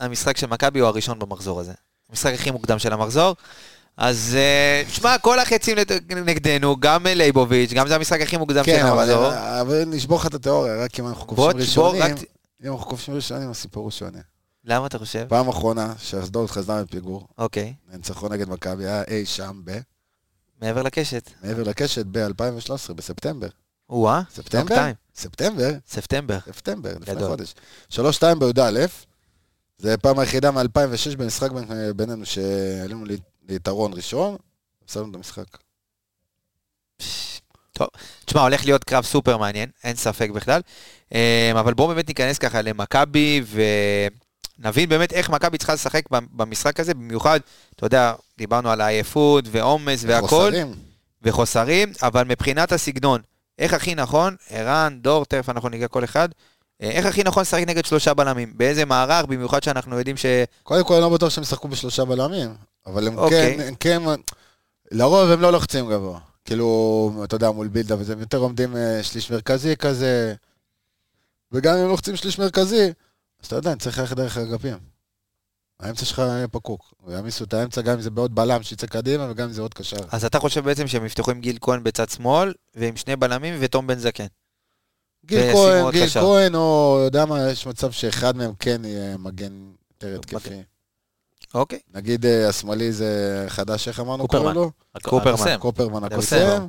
Speaker 1: המשחק של מכבי הוא הראשון במחזור הזה. המשחק הכי מוקדם של המחזור. אז אה, תשמע, כל החצים לד- נגדנו, גם אה, לייבוביץ', גם זה המשחק הכי מוקדם של
Speaker 5: כן, אבל-
Speaker 1: המחזור.
Speaker 5: אבל נשבור לך את התיאוריה, רק אם אנחנו
Speaker 1: בוא
Speaker 5: כובשים
Speaker 1: תשבור רק...
Speaker 5: ראשונים. אם אנחנו כובשים ראשונים, הסיפור הוא שונה.
Speaker 1: למה אתה חושב?
Speaker 5: פעם אחרונה שאשדוד חזרה מפיגור,
Speaker 1: אוקיי,
Speaker 5: ניצחון נגד מכבי, היה אי שם ב...
Speaker 1: מעבר לקשת.
Speaker 5: מעבר לקשת ב-2013, בספטמבר.
Speaker 1: או-אה,
Speaker 5: ספטמבר?
Speaker 1: time.
Speaker 5: ספטמבר?
Speaker 1: ספטמבר.
Speaker 5: ספטמבר, לפני
Speaker 1: לא, גדול.
Speaker 5: חודש. 3-2 בי"א, זה פעם היחידה מ-2006 במשחק בין- בינינו שעלינו לי- ליתרון ראשון, הפסדנו את המשחק.
Speaker 1: תשמע, הולך להיות קרב סופר מעניין, אין ספק בכלל. אה, אבל בואו באמת ניכנס ככה למכבי ונבין באמת איך מכבי צריכה לשחק במשחק הזה, במיוחד, אתה יודע, דיברנו על העייפות ועומס והכל.
Speaker 5: חוסרים.
Speaker 1: וחוסרים, אבל מבחינת הסגנון, איך הכי נכון, ערן, דור, תכף אנחנו ניגע כל אחד, אה, איך הכי נכון לשחק נגד שלושה בלמים? באיזה מערך, במיוחד שאנחנו יודעים ש...
Speaker 5: קודם כל, אני לא בטוח שהם ישחקו בשלושה בלמים, אבל הם
Speaker 1: אוקיי.
Speaker 5: כן, הם כן, לרוב הם לא לוחצים גבוה. כאילו, אתה יודע, מול בילדה וזה, הם יותר עומדים אה, שליש מרכזי כזה, וגם אם הם לוחצים שליש מרכזי, אז אתה יודע, אני צריך ללכת דרך האגפים. האמצע שלך יהיה פקוק. יעמיסו את האמצע, גם אם זה בעוד בלם שיצא קדימה, וגם אם זה עוד קשר.
Speaker 1: אז אתה חושב בעצם שהם יפתחו עם גיל כהן בצד שמאל, ועם שני בלמים ותום בן זקן.
Speaker 5: גיל
Speaker 1: וישימו
Speaker 5: כהן,
Speaker 1: עוד
Speaker 5: גיל
Speaker 1: קשר.
Speaker 5: כהן, או יודע מה, יש מצב שאחד מהם כן יהיה מגן יותר התקפי.
Speaker 1: אוקיי.
Speaker 5: נגיד אה, השמאלי זה חדש, איך אמרנו? קוראים
Speaker 6: קופרמן.
Speaker 5: לו?
Speaker 1: קופרמן,
Speaker 5: קופרמן
Speaker 6: הקוסם.
Speaker 1: הקוסם.
Speaker 5: הקוסם.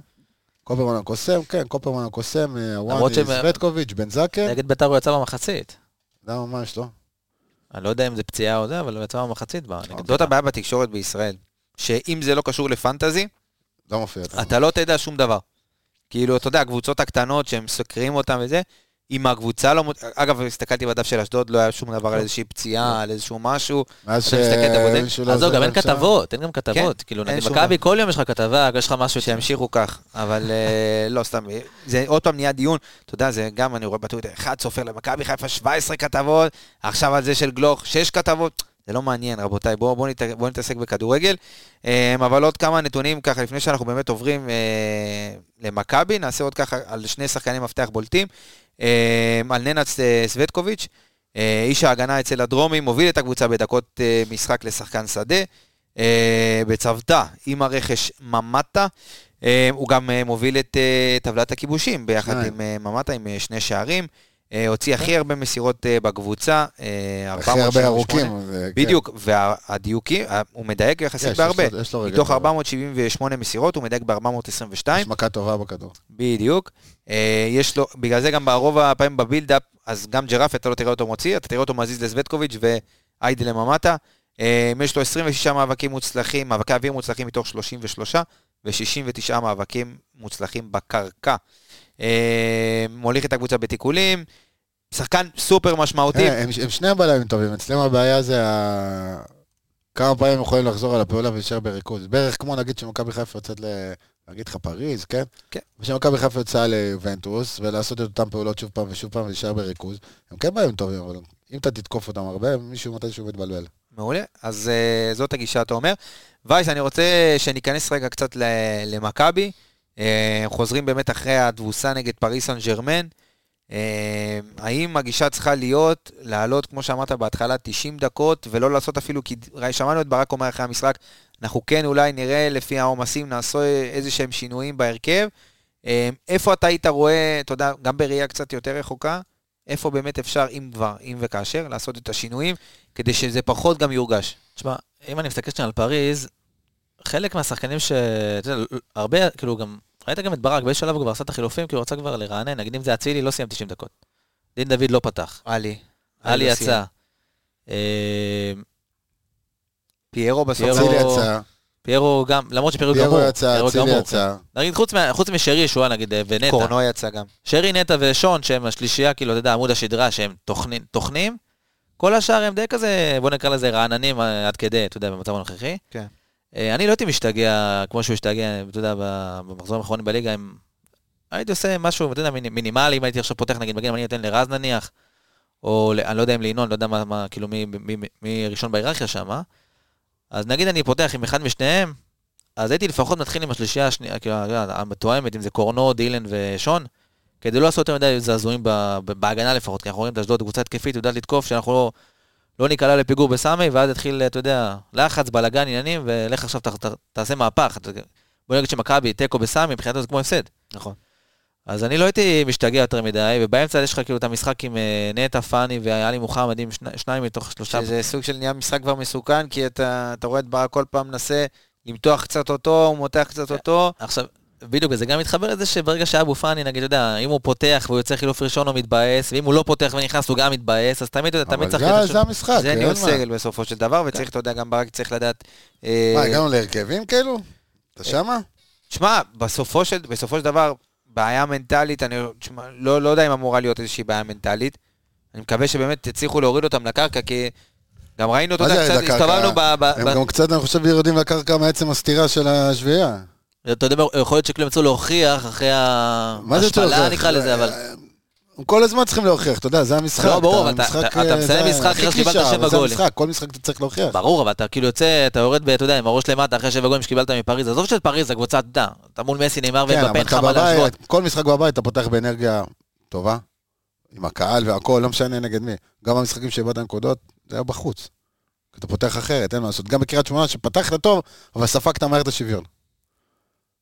Speaker 5: קופרמן הקוסם, כן, קופרמן הקוסם, אה,
Speaker 6: למרות
Speaker 5: וואני,
Speaker 6: שהם-
Speaker 5: סווטקוביץ', בן זקן. לא,
Speaker 6: נגד ביתר הוא יצא במחצית.
Speaker 5: למה, מה יש לו?
Speaker 6: אני לא יודע אם זה פציעה או זה, אבל הוא יצא במחצית. בה, נגד
Speaker 1: זאת הבעיה בתקשורת בישראל, שאם זה לא קשור לפנטזי,
Speaker 5: לא מופיע. אצלנו.
Speaker 1: אתה לא תדע שום דבר. כאילו, אתה יודע, הקבוצות הקטנות שהם סוקרים אותן וזה, אם הקבוצה לא... מות- אגב, הסתכלתי בדף של אשדוד, לא היה שום דבר על איזושהי פציעה, על איזשהו משהו.
Speaker 5: מאז
Speaker 1: אתה מסתכל, אתה בודק?
Speaker 5: שמישהו לא
Speaker 6: עזוב,
Speaker 5: עוזר
Speaker 6: גם אין
Speaker 5: להם שם.
Speaker 6: כתבות, אין גם כתבות. כאילו,
Speaker 1: כן, אין
Speaker 6: נגד
Speaker 1: שום
Speaker 6: מכבי כל יום יש לך כתבה, יש לך משהו
Speaker 1: שימשיכו כך, אבל אה, לא סתם, אה, זה עוד פעם נהיה דיון, אתה יודע, זה גם, אני רואה בטוויטר, אחד סופר למכבי חיפה 17 כתבות, עכשיו על זה של גלוך 6 כתבות, זה לא מעניין, רבותיי, בואו בוא נת, בוא נתעסק בכדורגל. אה, אבל עוד כמה נתונים ככה, לפני שאנחנו באמת עוברים אה, למכבי, נעשה עוד ככה על שני שחקני מפתח בולטים, אה, על ננץ אה, סווטקוביץ', אה, איש ההגנה אצל הדרומי, מוביל את הקבוצה בדקות אה, משחק לשחקן שדה. אה, בצוותא עם הרכש ממטה. אה, הוא גם אה, מוביל את אה, טבלת הכיבושים ביחד
Speaker 5: שניים.
Speaker 1: עם אה, ממטה, עם אה, שני שערים. אה, אה, הוציא הכי הרבה מסירות אה, בקבוצה, אה,
Speaker 5: הכי הרבה
Speaker 1: 478.
Speaker 5: ארוכים. זה- כן.
Speaker 1: בדיוק, והדיוקים, אה, הוא מדייק
Speaker 5: יש,
Speaker 1: יחסית
Speaker 5: יש
Speaker 1: בהרבה.
Speaker 5: לו- יש לו רגל
Speaker 1: מתוך
Speaker 5: טוב.
Speaker 1: 478 מסירות, הוא מדייק ב-422.
Speaker 5: יש מכה טובה בכדור.
Speaker 1: בדיוק. אה, יש לו, בגלל זה גם ברוב הפעמים בבילדאפ, אז גם ג'רף, אתה לא תראה אותו מוציא, אתה תראה אותו מזיז לזווטקוביץ' ואיידי לממטה. אה, יש לו 26 מאבקים מוצלחים, מאבקי אוויר מוצלחים מתוך 33, ו-69 מאבקים מוצלחים בקרקע. אה, מוליך את הקבוצה בתיקולים, שחקן סופר משמעותי.
Speaker 5: אה, הם הם שני בלמים טובים, אצלם הבעיה זה ה... כמה פעמים הם יכולים לחזור על הפעולה ולהישאר בריכוז. בערך כמו נגיד שמכבי חיפה יוצאת ל... נגיד לך פריז, כן?
Speaker 1: כן.
Speaker 5: ושמכבי חיפה יוצאה ליובנטוס, ולעשות את אותן פעולות שוב פעם ושוב פעם ולהישאר בריכוז. הם כן באים טובים, אבל אם אתה תתקוף אותם הרבה, מישהו מתישהו מתבלבל.
Speaker 1: מעולה, אז אה, זאת הגישה, אתה אומר. וייס, אני רוצה שניכנס רגע קצת ל- למכבי. אה, חוזרים באמת אחרי התבוסה נגד פריס סן ג'רמן. אה, האם הגישה צריכה להיות לעלות, כמו שאמרת בהתחלה, 90 דקות, ולא לעשות אפילו, כי ראי, שמענו את ברק אומר אחרי המשחק, אנחנו כן אולי נראה לפי העומסים, נעשה איזה שהם שינויים בהרכב. אה, איפה אתה היית רואה, אתה יודע, גם בראייה קצת יותר רחוקה, איפה באמת אפשר, אם כבר, אם וכאשר, לעשות את השינויים, כדי שזה פחות גם יורגש.
Speaker 6: תשמע, אם אני מסתכל שנייה על פריז, חלק מהשחקנים ש... אתה יודע, הרבה, כאילו גם... ראית גם את ברק, באיזה שלב הוא כבר עשה את החילופים, כי הוא רצה כבר לרענן, נגיד אם זה אצילי, לא סיים 90 דקות. דין דוד לא פתח,
Speaker 1: עלי.
Speaker 6: עלי
Speaker 1: לא סיים.
Speaker 6: יצא. אה,
Speaker 1: פיירו בסוף.
Speaker 6: פיירו-
Speaker 5: אצילי יצא,
Speaker 6: פיירו גם, למרות שפיירו גמור.
Speaker 5: פיירו יצא,
Speaker 6: פיירו
Speaker 5: אצילי
Speaker 6: גמור, כן.
Speaker 5: יצא.
Speaker 6: נגיד, חוץ מה- חוץ משרי, שהוא היה נגיד, אה, ונטע.
Speaker 1: קורנו יצא גם.
Speaker 6: שרי, נטע ושון, שהם השלישייה, כאילו, אתה יודע, עמוד השדרה, שהם תוכני- תוכנים, כל השאר הם די כזה, בוא נקרא לזה רעננים אה, עד כדי, אתה יודע, במצב הנוכחי.
Speaker 1: כן.
Speaker 6: אה, אני לא הייתי משתגע כמו שהוא השתגע, אתה יודע, ב- במחזור האחרון בליגה, הם... הייתי עושה משהו, אתה יודע, מיני- מינימלי, אם הייתי עכשיו פותח, נגיד, מגן, אם אני נותן לרז נניח, או ל- אני לא יודע אם לינון, לא יודע מה, מה כאילו, מי, מי, מי, מי ראשון בהיררכיה שם, אה? אז נגיד אני פותח עם אחד משניהם, אז הייתי לפחות מתחיל עם השלישייה השנייה, כאילו, אתה יודע, המתואמת, אם זה קורנו, דילן ושון, כדי לא לעשות יותר מדי זעזועים ב- ב- בהגנה לפחות, כי אנחנו רואים את אשדוד, קבוצה התקפית, יודעת לתקוף, שאנחנו לא, לא ניקלע לפיגור בסמי, ואז התחיל, אתה יודע, לחץ, בלאגן, עניינים, ולך עכשיו ת, ת, תעשה מהפך. אתה- בוא נגיד שמכבי תיקו בסמי, מבחינתו זה כמו הפסד.
Speaker 1: נכון.
Speaker 6: אז אני לא הייתי משתגע יותר מדי, ובאמצע יש לך כאילו את המשחק עם אה, נטע, פאני ועלי מוחמד, עם שני, שניים מתוך שלושה.
Speaker 1: שזה סוג של נהיה משחק כבר מסוכן, כי אתה אתה רואה את ברק כל פעם מנסה למתוח קצת אותו, הוא מותח קצת אותו.
Speaker 6: עכשיו, בדיוק, וזה גם מתחבר לזה שברגע שאבו פאני, נגיד, אתה יודע, אם הוא פותח והוא יוצא חילוף ראשון, הוא מתבאס, ואם הוא לא פותח ונכנס, הוא גם מתבאס, אז תמיד, אתה יודע,
Speaker 5: אבל
Speaker 6: תמיד צריך...
Speaker 5: זה-
Speaker 6: להיות-
Speaker 5: זה המשחק,
Speaker 1: זה
Speaker 5: אין
Speaker 1: ניהול
Speaker 5: אה, כן, מה. כן.
Speaker 1: סגל בסופו של דבר, וצריך, אתה יודע, גם ברק צריך לדעת... אה,
Speaker 5: מה, הגענו להרכבים כאילו? אתה שמה?
Speaker 1: שמע, בסופו של, בסופו של דבר, בעיה מנטלית, אני תשמע, לא, לא יודע אם אמורה להיות איזושהי בעיה מנטלית. אני מקווה שבאמת תצליחו להוריד אותם לקרקע, כי גם ראינו, אתה
Speaker 5: מה
Speaker 1: יודע,
Speaker 5: זה
Speaker 1: קצת
Speaker 5: לקרקע?
Speaker 1: הסתובבנו ב... ב-
Speaker 5: הם
Speaker 1: ב-
Speaker 5: גם קצת, אני חושב, יורדים לקרקע מעצם הסתירה של השביעייה.
Speaker 6: אתה יודע, יכול להיות שכאילו ימצאו להוכיח אחרי
Speaker 5: מה זה אתה
Speaker 6: ההשפלה
Speaker 5: לוקח?
Speaker 6: נקרא לזה, אבל...
Speaker 5: הם כל הזמן צריכים להוכיח, אתה יודע, זה המשחק.
Speaker 6: לא, ברור, אבל אתה-
Speaker 5: המשחק,
Speaker 6: אתה-
Speaker 5: אה,
Speaker 6: אתה מסיים
Speaker 5: זה
Speaker 6: משחק
Speaker 5: הכי
Speaker 6: אחרי שקיבלת
Speaker 5: קלישאה,
Speaker 6: שבע
Speaker 5: אבל זה
Speaker 6: גולים.
Speaker 5: המשחק, כל משחק אתה צריך להוכיח.
Speaker 6: ברור, אבל אתה כאילו יוצא, אתה יורד, ב- אתה יודע, עם הראש למטה אחרי שבע גולים שקיבלת מפריז, עזוב שאת פריז, הקבוצה, אתה יודע, אתה מול מסי, נאמר
Speaker 5: כן,
Speaker 6: ומבפה,
Speaker 5: אבל
Speaker 6: אין לך
Speaker 5: אתה
Speaker 6: מה להשוות.
Speaker 5: בבית, כל משחק בבית אתה פותח באנרגיה טובה, עם הקהל והכל, לא משנה נגד מי. גם המשחקים שאיבדת נקודות, זה היה בחוץ. כי אתה פותח אחרת, אין מה לעשות. גם בקריית שמונה שפתחת טוב, אבל ספגת מהר את השוויון.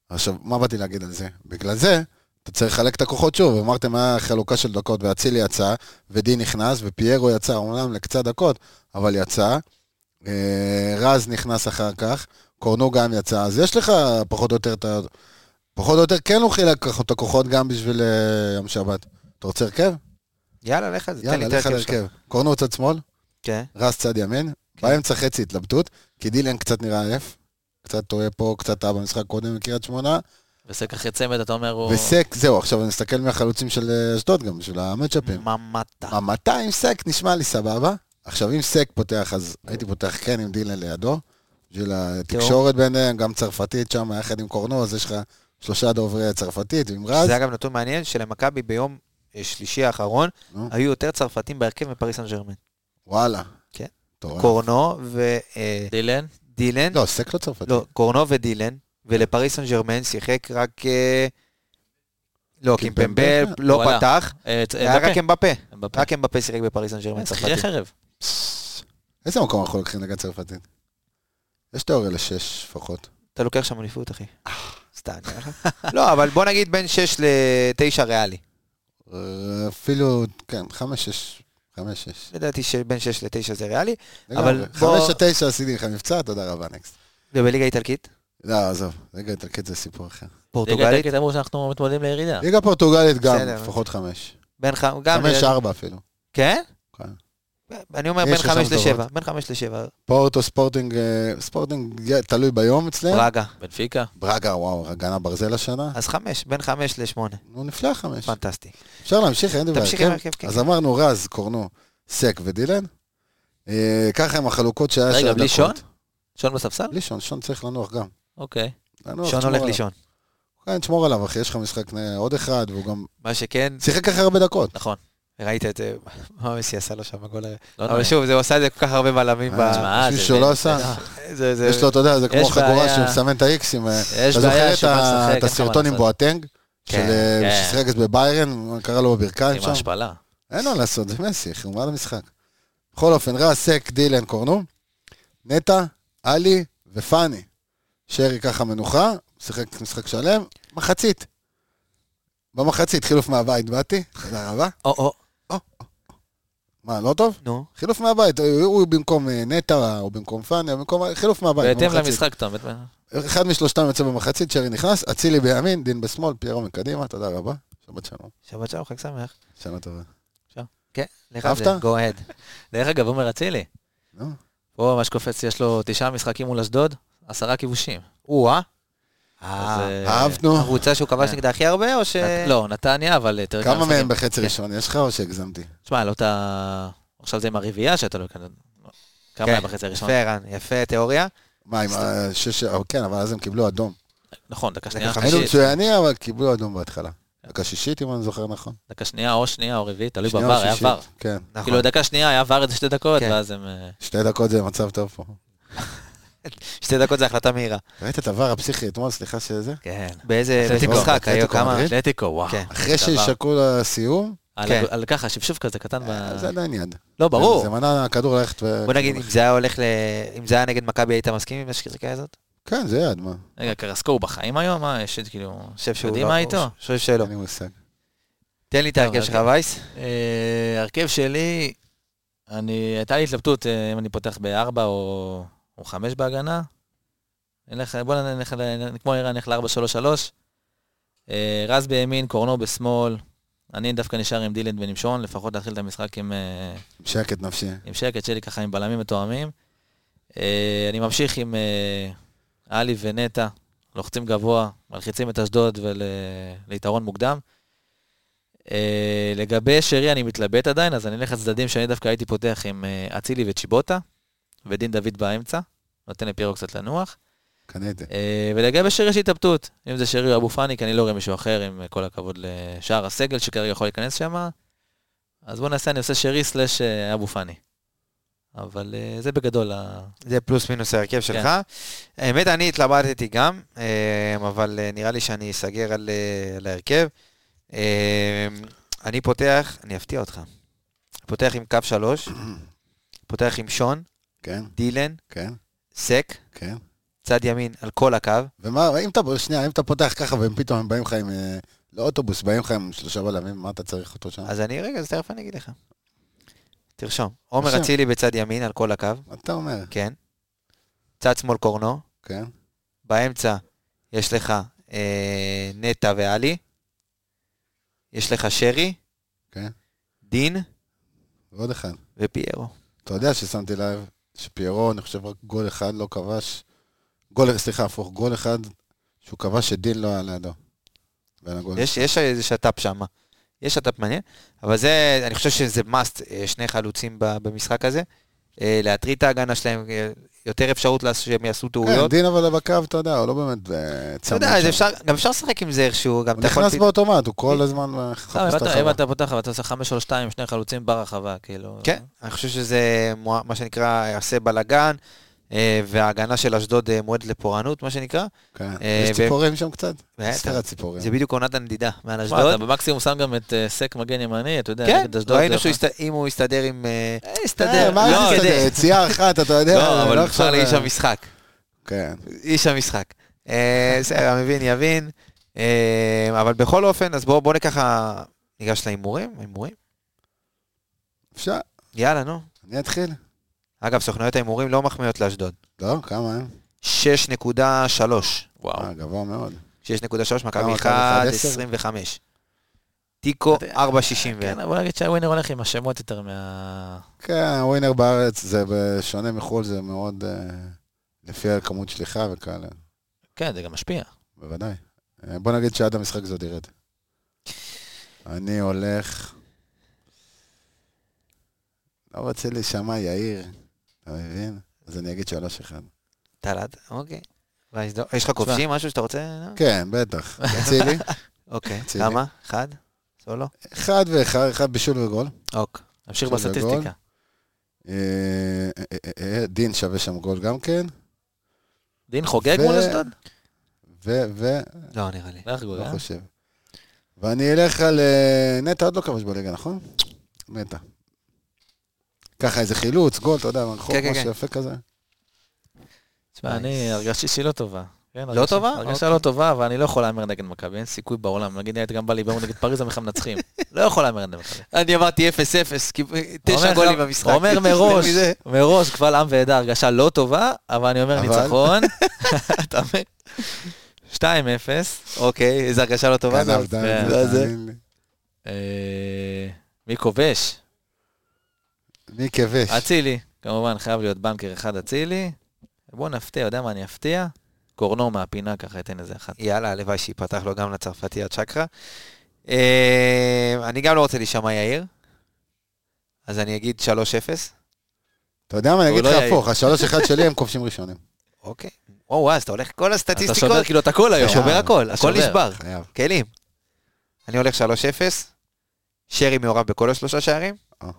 Speaker 5: עכשיו, מה באתי להגיד על זה? בגלל זה, אתה צריך לחלק את הכוחות שוב. אמרתם, היה חלוקה של דקות, ואצילי יצא, ודין נכנס, ופיירו יצא, אומנם לקצת דקות, אבל יצא. אה, רז נכנס אחר כך, קורנו גם יצא, אז יש לך פחות או יותר את ה... פחות או יותר כן הוא חילק כח- את הכוחות גם בשביל אה, יום שבת. אתה רוצה הרכב?
Speaker 1: יאללה, לך על זה, תן לי
Speaker 5: יאללה,
Speaker 1: את
Speaker 5: לך על
Speaker 1: ההרכב שלך.
Speaker 5: הרכב. קורנו צד שמאל,
Speaker 1: כן.
Speaker 5: רז צד ימין, באמצע חצי התלבטות, כי דילן קצת נראה עייף, קצת טועה פה, קצת טעה במשחק קודם בקריית שמונה,
Speaker 6: וסק אחרי צמד, אתה אומר, הוא...
Speaker 5: וסק, זהו, עכשיו אני מסתכל מהחלוצים של אה, אשדוד גם, בשביל המצ'אפים.
Speaker 1: ממטה.
Speaker 5: ה-200 סק נשמע לי סבבה. עכשיו, אם סק פותח, אז הייתי פותח כן עם דילן לידו, בשביל התקשורת ביניהם, גם צרפתית שם, יחד עם קורנו, אז יש לך שלושה דוברי צרפתית, עם רז.
Speaker 1: זה אגב נתון מעניין, שלמכבי ביום אה, שלישי האחרון,
Speaker 5: נו.
Speaker 1: היו יותר צרפתים בהרכב מפריס סן ג'רמן.
Speaker 5: וואלה.
Speaker 1: כן.
Speaker 5: טוב.
Speaker 1: קורנו ודילן.
Speaker 6: דילן,
Speaker 5: לא, סק לא צרפתי.
Speaker 1: לא, קורנו ודילן, ולפריס סן ג'רמן שיחק רק... אה, לא, קימפמבל
Speaker 5: קימפמבל?
Speaker 1: לא
Speaker 6: וואלה.
Speaker 1: פתח,
Speaker 6: אה, צ-
Speaker 1: היה רק
Speaker 6: מבפה,
Speaker 1: אמבפה.
Speaker 6: מבפה.
Speaker 1: רק אמבפה שיחק בפריס סן ג'רמן
Speaker 6: אה, שחקי
Speaker 1: צרפתי.
Speaker 6: חרב.
Speaker 5: איזה מקום אנחנו לוקחים נגד צרפתית? יש תיאוריה לשש לפחות.
Speaker 1: אתה לוקח שם
Speaker 6: אה,
Speaker 1: אליפות, אחי. סתם. אני אומר לך. לא, אבל בוא נגיד בין 6 ל-9 ריאלי.
Speaker 5: אה, אפילו, כן, חמש, שש. חמש, שש.
Speaker 1: לדעתי שבין 6 ל-9 זה ריאלי,
Speaker 5: אבל
Speaker 1: בוא-
Speaker 5: חמש עד תשע עשיתי לך מבצע, תודה רבה, נקסט.
Speaker 1: ובליגה האיטלקית,
Speaker 5: לא, עזוב, ליגה איטלקית זה סיפור אחר.
Speaker 6: ליגה
Speaker 1: פורטוגלית,
Speaker 6: דקית אמרו שאנחנו מתמודדים לירידה.
Speaker 5: ליגה פורטוגלית גם,
Speaker 1: אה. בסדר.
Speaker 5: לפחות חמש.
Speaker 1: בין ח... גם...
Speaker 5: חמש, ארבע אפילו.
Speaker 1: כן?
Speaker 5: כן.
Speaker 1: אני אומר
Speaker 5: יש
Speaker 1: בין
Speaker 5: שם
Speaker 1: 5
Speaker 5: טובות. כן.
Speaker 1: ל-7, בין 5 ל-7,
Speaker 5: פורטו ספורטינג, אה, ספורטינג אה, תלוי ביום אצלם.
Speaker 1: ברגה.
Speaker 6: בנפיקה.
Speaker 5: ברגה, וואו, הגנה ברזל השנה.
Speaker 1: אז 5, בין 5 ל-8,
Speaker 5: נו, נפלא חמש.
Speaker 1: פנטסטי.
Speaker 5: אפשר להמשיך, אין דבר.
Speaker 1: אה. תמשיך עם ההרכב, כן.
Speaker 5: כן, אז אמרנו רז, קורנו, סק ודילן. אה, ככה עם החלוקות שהיה של
Speaker 6: רגע,
Speaker 5: הדקות.
Speaker 6: בלי שון? שון בספסל?
Speaker 5: בלי שון, שון צריך לנוח גם.
Speaker 6: אוקיי.
Speaker 5: לנוח,
Speaker 1: שון
Speaker 5: תשמור
Speaker 1: הולך
Speaker 5: עליו.
Speaker 1: לישון.
Speaker 5: כן, תשמור עליו, אחי, יש לך משחק אה, עוד אחד, והוא גם...
Speaker 1: מה שכן,
Speaker 5: שיחק ככה הרבה דקות.
Speaker 6: נכון.
Speaker 1: ראית את זה, מה מסי עשה לו שם הגול?
Speaker 6: לא
Speaker 1: אבל
Speaker 6: נעים.
Speaker 1: שוב, זה הוא עשה את זה כל כך הרבה בלמים. ב-
Speaker 6: תשמע,
Speaker 5: בשביל
Speaker 6: זה-
Speaker 5: שהוא לא
Speaker 6: זה-
Speaker 5: עשה.
Speaker 1: זה- זה-
Speaker 5: יש לו, אתה יודע, זה כמו
Speaker 6: אה, יש
Speaker 5: חגורה
Speaker 6: בעיה-
Speaker 5: שהוא מסמן את האיקסים. אה,
Speaker 6: יש
Speaker 5: אתה זוכר
Speaker 6: בעיה
Speaker 5: את
Speaker 6: שמה לשחק,
Speaker 5: ה-
Speaker 6: אין
Speaker 5: את
Speaker 6: לך מה
Speaker 5: הסרטון עם
Speaker 6: לעשות.
Speaker 5: בואטנג? של
Speaker 6: כן,
Speaker 5: אה,
Speaker 6: כן.
Speaker 5: ששיחק אז בביירן, מה קרה לו בברכיים
Speaker 6: עם
Speaker 5: שם?
Speaker 6: ההשפלה.
Speaker 5: אין מה לעשות, זה מסי, אחי, הוא מעל המשחק. בכל אופן, רז, סק, דילן, קורנו, נטע, עלי ופאני. שרי ככה מנוחה, שיחק משחק שלם, מחצית. במחצית, חילוף מהבית באתי, תודה רבה.
Speaker 1: או, או,
Speaker 5: מה, לא טוב?
Speaker 1: נו.
Speaker 5: חילוף מהבית, הוא- הוא במקום אה, נטע, הוא במקום פאני, הוא במקום... חילוף מהבית,
Speaker 6: בהתאם
Speaker 5: במחצית.
Speaker 6: למשחק, אתה אה, מבין?
Speaker 5: אחד משלושתם יוצא במחצית, שרי נכנס, אצילי בימין, דין בשמאל, פיירו מקדימה, תודה רבה. שבת שלום.
Speaker 1: שבת שלום, חג שמח.
Speaker 5: שנה טובה.
Speaker 1: כן, לך
Speaker 5: אהבת?
Speaker 1: על זה, go ahead.
Speaker 6: דרך אגב, עומר אצילי.
Speaker 5: נו.
Speaker 6: פה ממש קופץ, יש לו תשעה משחקים מול אשדוד, עשרה כיבושים.
Speaker 1: או-אה.
Speaker 6: אז,
Speaker 1: אה,
Speaker 6: אה,
Speaker 5: אהבנו.
Speaker 1: הקבוצה שהוא כבש
Speaker 6: כן.
Speaker 1: נגדה הכי הרבה, או ש...
Speaker 6: נת- לא, נתניה, אבל אה, תראה
Speaker 5: כמה
Speaker 6: המשחקים.
Speaker 5: מהם בחצי
Speaker 6: כן.
Speaker 5: ראשון יש לך או שהגזמתי?
Speaker 6: תשמע, לא את ה... עכשיו זה עם הרביעייה שאתה לא... כאן. כמה
Speaker 1: כן,
Speaker 6: היה בחצי הראשון?
Speaker 1: יפה, רן, יפה, תיאוריה. נכון.
Speaker 5: מה, עם השש... אה, כן, אבל אז הם קיבלו אדום.
Speaker 6: נכון, דקה שנייה,
Speaker 1: חמישית.
Speaker 5: היינו
Speaker 6: חמישית.
Speaker 5: מצוינים, אבל קיבלו אדום בהתחלה. דקה שישית, אם אני זוכר נכון.
Speaker 6: דקה שנייה או שנייה או רביעית, תלוי
Speaker 5: שנייה או
Speaker 6: בבר, היה
Speaker 5: שישית,
Speaker 6: בר.
Speaker 5: כן.
Speaker 1: נכון.
Speaker 6: כאילו, דקה שנייה היה בר איזה שתי דקות,
Speaker 1: כן.
Speaker 6: ואז הם... אה,
Speaker 5: שתי דקות זה מצב טוב פה.
Speaker 1: שתי דקות זה החלטה מהירה.
Speaker 5: ראית את הוואר הפסיכי אתמול, סליחה שזה?
Speaker 6: כן.
Speaker 1: באיזה באיזה
Speaker 5: אתלטיקו,
Speaker 1: משחק, היו
Speaker 5: אתלטיקו
Speaker 1: כמה...
Speaker 5: מדריד?
Speaker 6: אתלטיקו, וואו.
Speaker 1: כן.
Speaker 5: אחרי
Speaker 6: דבר.
Speaker 5: שישקעו לסיום,
Speaker 6: על
Speaker 1: כן.
Speaker 6: הגו- על ככה, שפשוף כזה קטן ב...
Speaker 5: אה, זה עדיין יד.
Speaker 6: לא, ברור.
Speaker 5: זה מנע הכדור ללכת ו...
Speaker 1: בוא נגיד, אם זה היה הולך ל... אם זה היה נגד מכבי, היית מסכים עם השחיקה הזאת?
Speaker 5: כן, זה יד, מה?
Speaker 6: רגע, קרסקו הוא בחיים היום? מה, יש את כאילו...
Speaker 1: אני חושב שהוא לא...
Speaker 6: יודעים מה איתו?
Speaker 1: אני חושב שלא.
Speaker 6: לא.
Speaker 5: אין לי מושג.
Speaker 1: תן לי את ההרכב
Speaker 6: אבל
Speaker 1: שלך,
Speaker 6: כן.
Speaker 1: וייס.
Speaker 6: אה, הרכב שלי, אני... הייתה לי התלבטות אה, אם אני פותח בארבע או או חמש בהגנה. נלך- בוא נלך, ל- כמו איראן, נלך לארבע, שלוש, שלוש. אה, רז בימין, קורנו בשמאל. אני דווקא נשאר עם דילנד ונמשון, לפחות להתחיל את המשחק עם... אה,
Speaker 5: שקט נפשי.
Speaker 6: עם שקט שלי ככה עם בלמים מתואמים. אה, אני ממשיך עם אה, עלי ונטע, לוחצים גבוה, מלחיצים את אשדוד וליתרון מוקדם. אה, לגבי שרי אני מתלבט עדיין, אז אני אלך לצדדים שאני דווקא הייתי פותח עם אה, אצילי וצ'יבוטה, ודין דוד באמצע, נותן לפיירו קצת לנוח.
Speaker 5: קניתי.
Speaker 6: אה, ולגבי שרי יש התלבטות, אם זה שרי או אבו פאני, כי אני לא רואה מישהו אחר, עם אה, כל הכבוד לשאר הסגל שכרגע יכול להיכנס שם. אז בוא נעשה, אני עושה שרי סלאש אה, אבו פאני. אבל אה, זה בגדול ה...
Speaker 1: זה פלוס מינוס
Speaker 5: כן.
Speaker 1: ההרכב שלך. האמת, אני התלבטתי גם, אה, אבל אה, נראה לי שאני אסגר על אה, על ההרכב. אה, אני פותח, אני אפתיע אותך. פותח עם קו שלוש, פותח עם שון,
Speaker 5: כן,
Speaker 1: דילן,
Speaker 5: כן,
Speaker 1: סק,
Speaker 5: כן.
Speaker 1: צד ימין על כל הקו.
Speaker 5: ומה, אם אתה, שנייה, אם אתה פותח ככה והם פתאום הם באים לך עם, אה, לא אוטובוס, באים לך עם שלושה בלמים, מה אתה צריך אותו שם?
Speaker 1: אז אני, רגע, אז תכף אני אגיד לך. תרשום. עומר
Speaker 5: רשום.
Speaker 1: אצילי בצד ימין על כל הקו,
Speaker 5: מה אתה אומר?
Speaker 1: כן. צד שמאל קורנו,
Speaker 5: כן,
Speaker 1: באמצע יש לך אה, נטע ועלי, יש לך שרי,
Speaker 5: כן.
Speaker 1: דין
Speaker 5: ועוד אחד.
Speaker 1: ופיירו.
Speaker 5: אתה יודע ששמתי לב שפיירו, אני חושב, רק גול אחד לא כבש, גול, סליחה, הפוך, גול אחד שהוא כבש שדין לא היה לידו. בין הגול.
Speaker 1: יש, יש איזה שת"פ שם. יש שת"פ מעניין, אבל זה, אני חושב שזה must, אה, שני חלוצים ב- במשחק הזה. אה, להטריד את ההגנה שלהם, אה, יותר אפשרות לעשות- שהם יעשו
Speaker 5: כן,
Speaker 1: טעויות.
Speaker 5: דין אבל בקו, אתה יודע, הוא לא באמת אה,
Speaker 1: אתה
Speaker 5: צמוד
Speaker 1: יודע, אז
Speaker 5: שם.
Speaker 1: אפשר, גם אפשר לשחק עם זה איכשהו, גם
Speaker 5: הוא
Speaker 1: אתה יכול... אה,
Speaker 5: נכנס
Speaker 1: פת-
Speaker 5: באוטומט, הוא כל הזמן מחפש
Speaker 6: לא, אם
Speaker 5: את
Speaker 6: אתה- אם
Speaker 5: החווה.
Speaker 6: אתה פותח ואתה עושה 5 או 2 שני חלוצים ברחבה, כאילו...
Speaker 1: כן, אני חושב שזה מוע- מה שנקרא, יעשה בלאגן, אה, וההגנה של אשדוד אה, מועדת לפורענות, מה שנקרא.
Speaker 5: כן.
Speaker 1: אה,
Speaker 5: יש
Speaker 1: ו-
Speaker 5: ציפורים שם קצת?
Speaker 1: בטח.
Speaker 5: ספירת ציפורים.
Speaker 1: זה בדיוק עונת הנדידה מעל
Speaker 6: תשמע, אתה
Speaker 1: אשדוד.
Speaker 6: במקסימום שם גם את אה, סק מגן ימני, אתה יודע,
Speaker 1: כן,
Speaker 6: נגד אשדוד.
Speaker 1: ראינו
Speaker 6: זה
Speaker 1: שהוא
Speaker 6: יכול-
Speaker 1: הסת- אם הוא יסתדר עם... אה,
Speaker 5: אה,
Speaker 1: יסתדר,
Speaker 5: מה
Speaker 1: לא,
Speaker 5: זה
Speaker 1: כדי-
Speaker 5: מסתדר? יציאה אחת, אתה יודע.
Speaker 1: לא, אבל
Speaker 5: עכשיו- אה,
Speaker 1: נבחר לאיש המשחק.
Speaker 5: כן.
Speaker 1: איש המשחק. אה, בסדר, המבין יבין. אה, אבל בכל אופן, אז בואו ניקח... ניגש להימורים? הימורים?
Speaker 5: אפשר?
Speaker 1: יאללה, נו.
Speaker 5: אני אתחיל.
Speaker 1: אגב, סוכנויות ההימורים לא מחמיאות לאשדוד.
Speaker 5: לא? כמה הם?
Speaker 1: 6.3. וואו.
Speaker 5: אה, גבוה מאוד.
Speaker 1: 6.3, מכבי
Speaker 5: כמה,
Speaker 1: אחד,
Speaker 5: מכבי 10?
Speaker 1: 25. טיקו, 4.60.
Speaker 6: כן, אבל בוא נגיד שהווינר הולך עם השמות יותר מה...
Speaker 5: כן, הווינר בארץ, זה בשונה מחו"ל, זה מאוד... אה, לפי הכמות שליחה וכאלה,
Speaker 6: כן, זה גם משפיע.
Speaker 5: בוודאי. אה, בוא נגיד שעד המשחק זה עוד ירד. אני הולך... לא רוצה להישמע יאיר, אתה מבין? אז אני אגיד שלוש אחד.
Speaker 1: תל"ד, אוקיי. ואז לא- יש לך כובשים, משהו שאתה רוצה? לא?
Speaker 5: כן, בטח. אצילי,
Speaker 1: אוקיי.
Speaker 5: רציני.
Speaker 1: כמה? אחד? סולו?
Speaker 5: אחד ואחד, אחד בישול וגול.
Speaker 1: אוק.
Speaker 6: נמשיך
Speaker 5: שזה גול.
Speaker 6: בסטטיסטיקה.
Speaker 5: אה, אה, אה, אה, דין שווה שם גול גם כן.
Speaker 6: דין חוגג
Speaker 5: ו-
Speaker 6: מול אשדוד?
Speaker 5: ו... ו...
Speaker 1: לא, נראה לי.
Speaker 6: לא חוגג,
Speaker 5: לא
Speaker 6: אה?
Speaker 5: חושב. ואני אלך על... אה, נטע עוד לא כבש בליגה, נכון? נטע. ככה איזה חילוץ, גול, אתה יודע, מרחוק,
Speaker 1: כן, כן,
Speaker 5: משהו
Speaker 1: כן.
Speaker 5: יפה כזה.
Speaker 6: תשמע, אני הרגשתי שהיא לא טובה. כן,
Speaker 1: לא
Speaker 6: הרגשתי-
Speaker 1: טובה?
Speaker 6: הרגשתי
Speaker 1: אוקיי.
Speaker 6: לא טובה, אבל אני לא יכול להמר נגד מכבי, אין סיכוי בעולם. נגיד ילד גם בא לי נגד פריז, הם בכלל מנצחים. לא יכול להמר נגד מכבי.
Speaker 1: אני אמרתי 0-0, כי- תשע
Speaker 6: אומר
Speaker 1: גולים
Speaker 6: גם-
Speaker 1: במשחק.
Speaker 6: אומר מראש, מראש, קבל עם ועדה, הרגשה לא טובה, אבל אני אומר
Speaker 5: אבל?
Speaker 6: ניצחון. אתה מבין? 2-0.
Speaker 1: אוקיי, איזו הרגשה לא טובה.
Speaker 5: גנבת,
Speaker 6: כן,
Speaker 5: זה,
Speaker 1: זה.
Speaker 5: תאמין לי.
Speaker 6: אה, מי כובש?
Speaker 5: מי כבש?
Speaker 6: אצילי. כמובן, חייב להיות בנקר אחד אצילי. בוא נפתיע, יודע מה אני אפתיע? קורנו מהפינה ככה ייתן איזה אחת.
Speaker 1: יאללה, הלוואי שיפתח לו גם לצרפתי הצ'קרה. אה, אני גם לא רוצה להישמע יאיר, אז אני אגיד 3-0.
Speaker 5: אתה יודע מה, אני
Speaker 6: הוא
Speaker 5: אגיד
Speaker 6: לא
Speaker 5: לך
Speaker 6: יעיל.
Speaker 5: הפוך, השלוש אחד שלי הם כובשים ראשונים.
Speaker 1: אוקיי. וואו, וואו, אז אתה הולך כל
Speaker 6: אתה
Speaker 1: הסטטיסטיקות.
Speaker 6: שובר כאילו את הכל היום.
Speaker 1: אתה שובר
Speaker 5: אה,
Speaker 1: הכל, הכל
Speaker 6: שובר.
Speaker 1: נשבר.
Speaker 5: חייב.
Speaker 1: כלים. אני הולך 3-0, שרי מעורב בכל השלושה שערים,
Speaker 5: אה.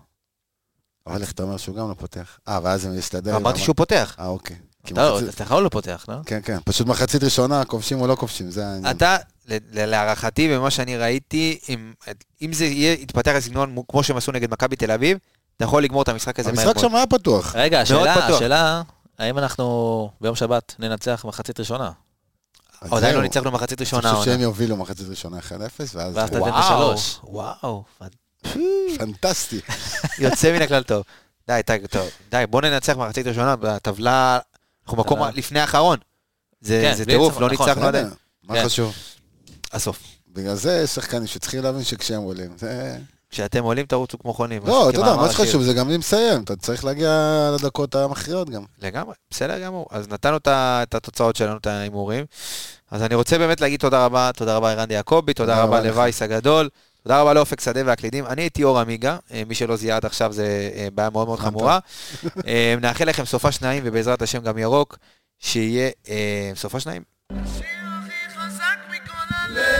Speaker 5: אבל איך אתה אומר שהוא גם לא פותח? אה, ואז הם יסתדר.
Speaker 1: ואמרתי שהוא פותח.
Speaker 5: אה, אוקיי. כי
Speaker 6: אתה עוד-
Speaker 5: מחצית-
Speaker 6: אצלך הוא לא פותח, לא?
Speaker 5: כן, כן, פשוט מחצית ראשונה, כובשים או לא כובשים, זה העניין.
Speaker 1: אתה, ל- ל- להערכתי, במה שאני ראיתי, אם- אם זה יהיה- יתפתח לסגנון מו- כמו שהם עשו נגד מכבי תל אביב, אתה יכול לגמור את המשחק הזה מהר
Speaker 5: המשחק
Speaker 1: מאוד.
Speaker 5: שם היה פתוח.
Speaker 6: רגע, השאלה,
Speaker 1: פתוח.
Speaker 6: השאלה, האם אנחנו ביום שבת ננצח מחצית ראשונה?
Speaker 5: אז
Speaker 1: עדיין לא
Speaker 5: זהו.
Speaker 1: ניצחנו מחצית ראשונה.
Speaker 5: אני חושב שהם
Speaker 1: העונה.
Speaker 5: יובילו מחצית ראשונה 1-0, ואז...
Speaker 6: ואז אתה
Speaker 5: וואו,
Speaker 6: תתן את השלוש.
Speaker 1: וואו,
Speaker 5: פנטסטי.
Speaker 1: יוצא מן הכלל טוב. די, די, טוב, די, בוא ננצח מחצית ראשונה, בטבלה, אנחנו מקום
Speaker 6: טבלה.
Speaker 1: לפני האחרון. זה
Speaker 6: כן,
Speaker 1: זה
Speaker 6: בלי
Speaker 1: טירוף,
Speaker 6: ניצחון,
Speaker 1: לא
Speaker 6: נכון,
Speaker 1: ניצחנו עדיין.
Speaker 5: בסדר, מה
Speaker 6: כן.
Speaker 5: חשוב?
Speaker 1: הסוף.
Speaker 5: בגלל זה יש שחקנים שצריכים להבין שכשהם עולים, זה...
Speaker 1: כשאתם עולים, תרוצו כמו חונים.
Speaker 5: לא, אתה יודע,
Speaker 1: כמאמר
Speaker 5: מה
Speaker 1: השיר.
Speaker 5: שחשוב זה גם מי מסיים, אתה צריך להגיע לדקות המכריעות גם.
Speaker 1: לגמרי, בסדר גמור. אז נתנו את ה- את התוצאות שלנו, את ההימורים. אז אני רוצה באמת להגיד תודה רבה, תודה רבה ערן יעקבי, תודה
Speaker 5: תודה
Speaker 1: רבה
Speaker 5: רבה לך.
Speaker 1: לווייס הגדול, תודה רבה לאופק שדה והקלידים. אני הייתי אור עמיגה, אה, מי שלא זיהה עד עכשיו זה אה, בעיה מאוד מאוד
Speaker 5: הבנת.
Speaker 1: חמורה. אה, נאחל לכם סופה שניים, ובעזרת השם גם ירוק, שיהיה אה, סופה שניים.
Speaker 2: שיר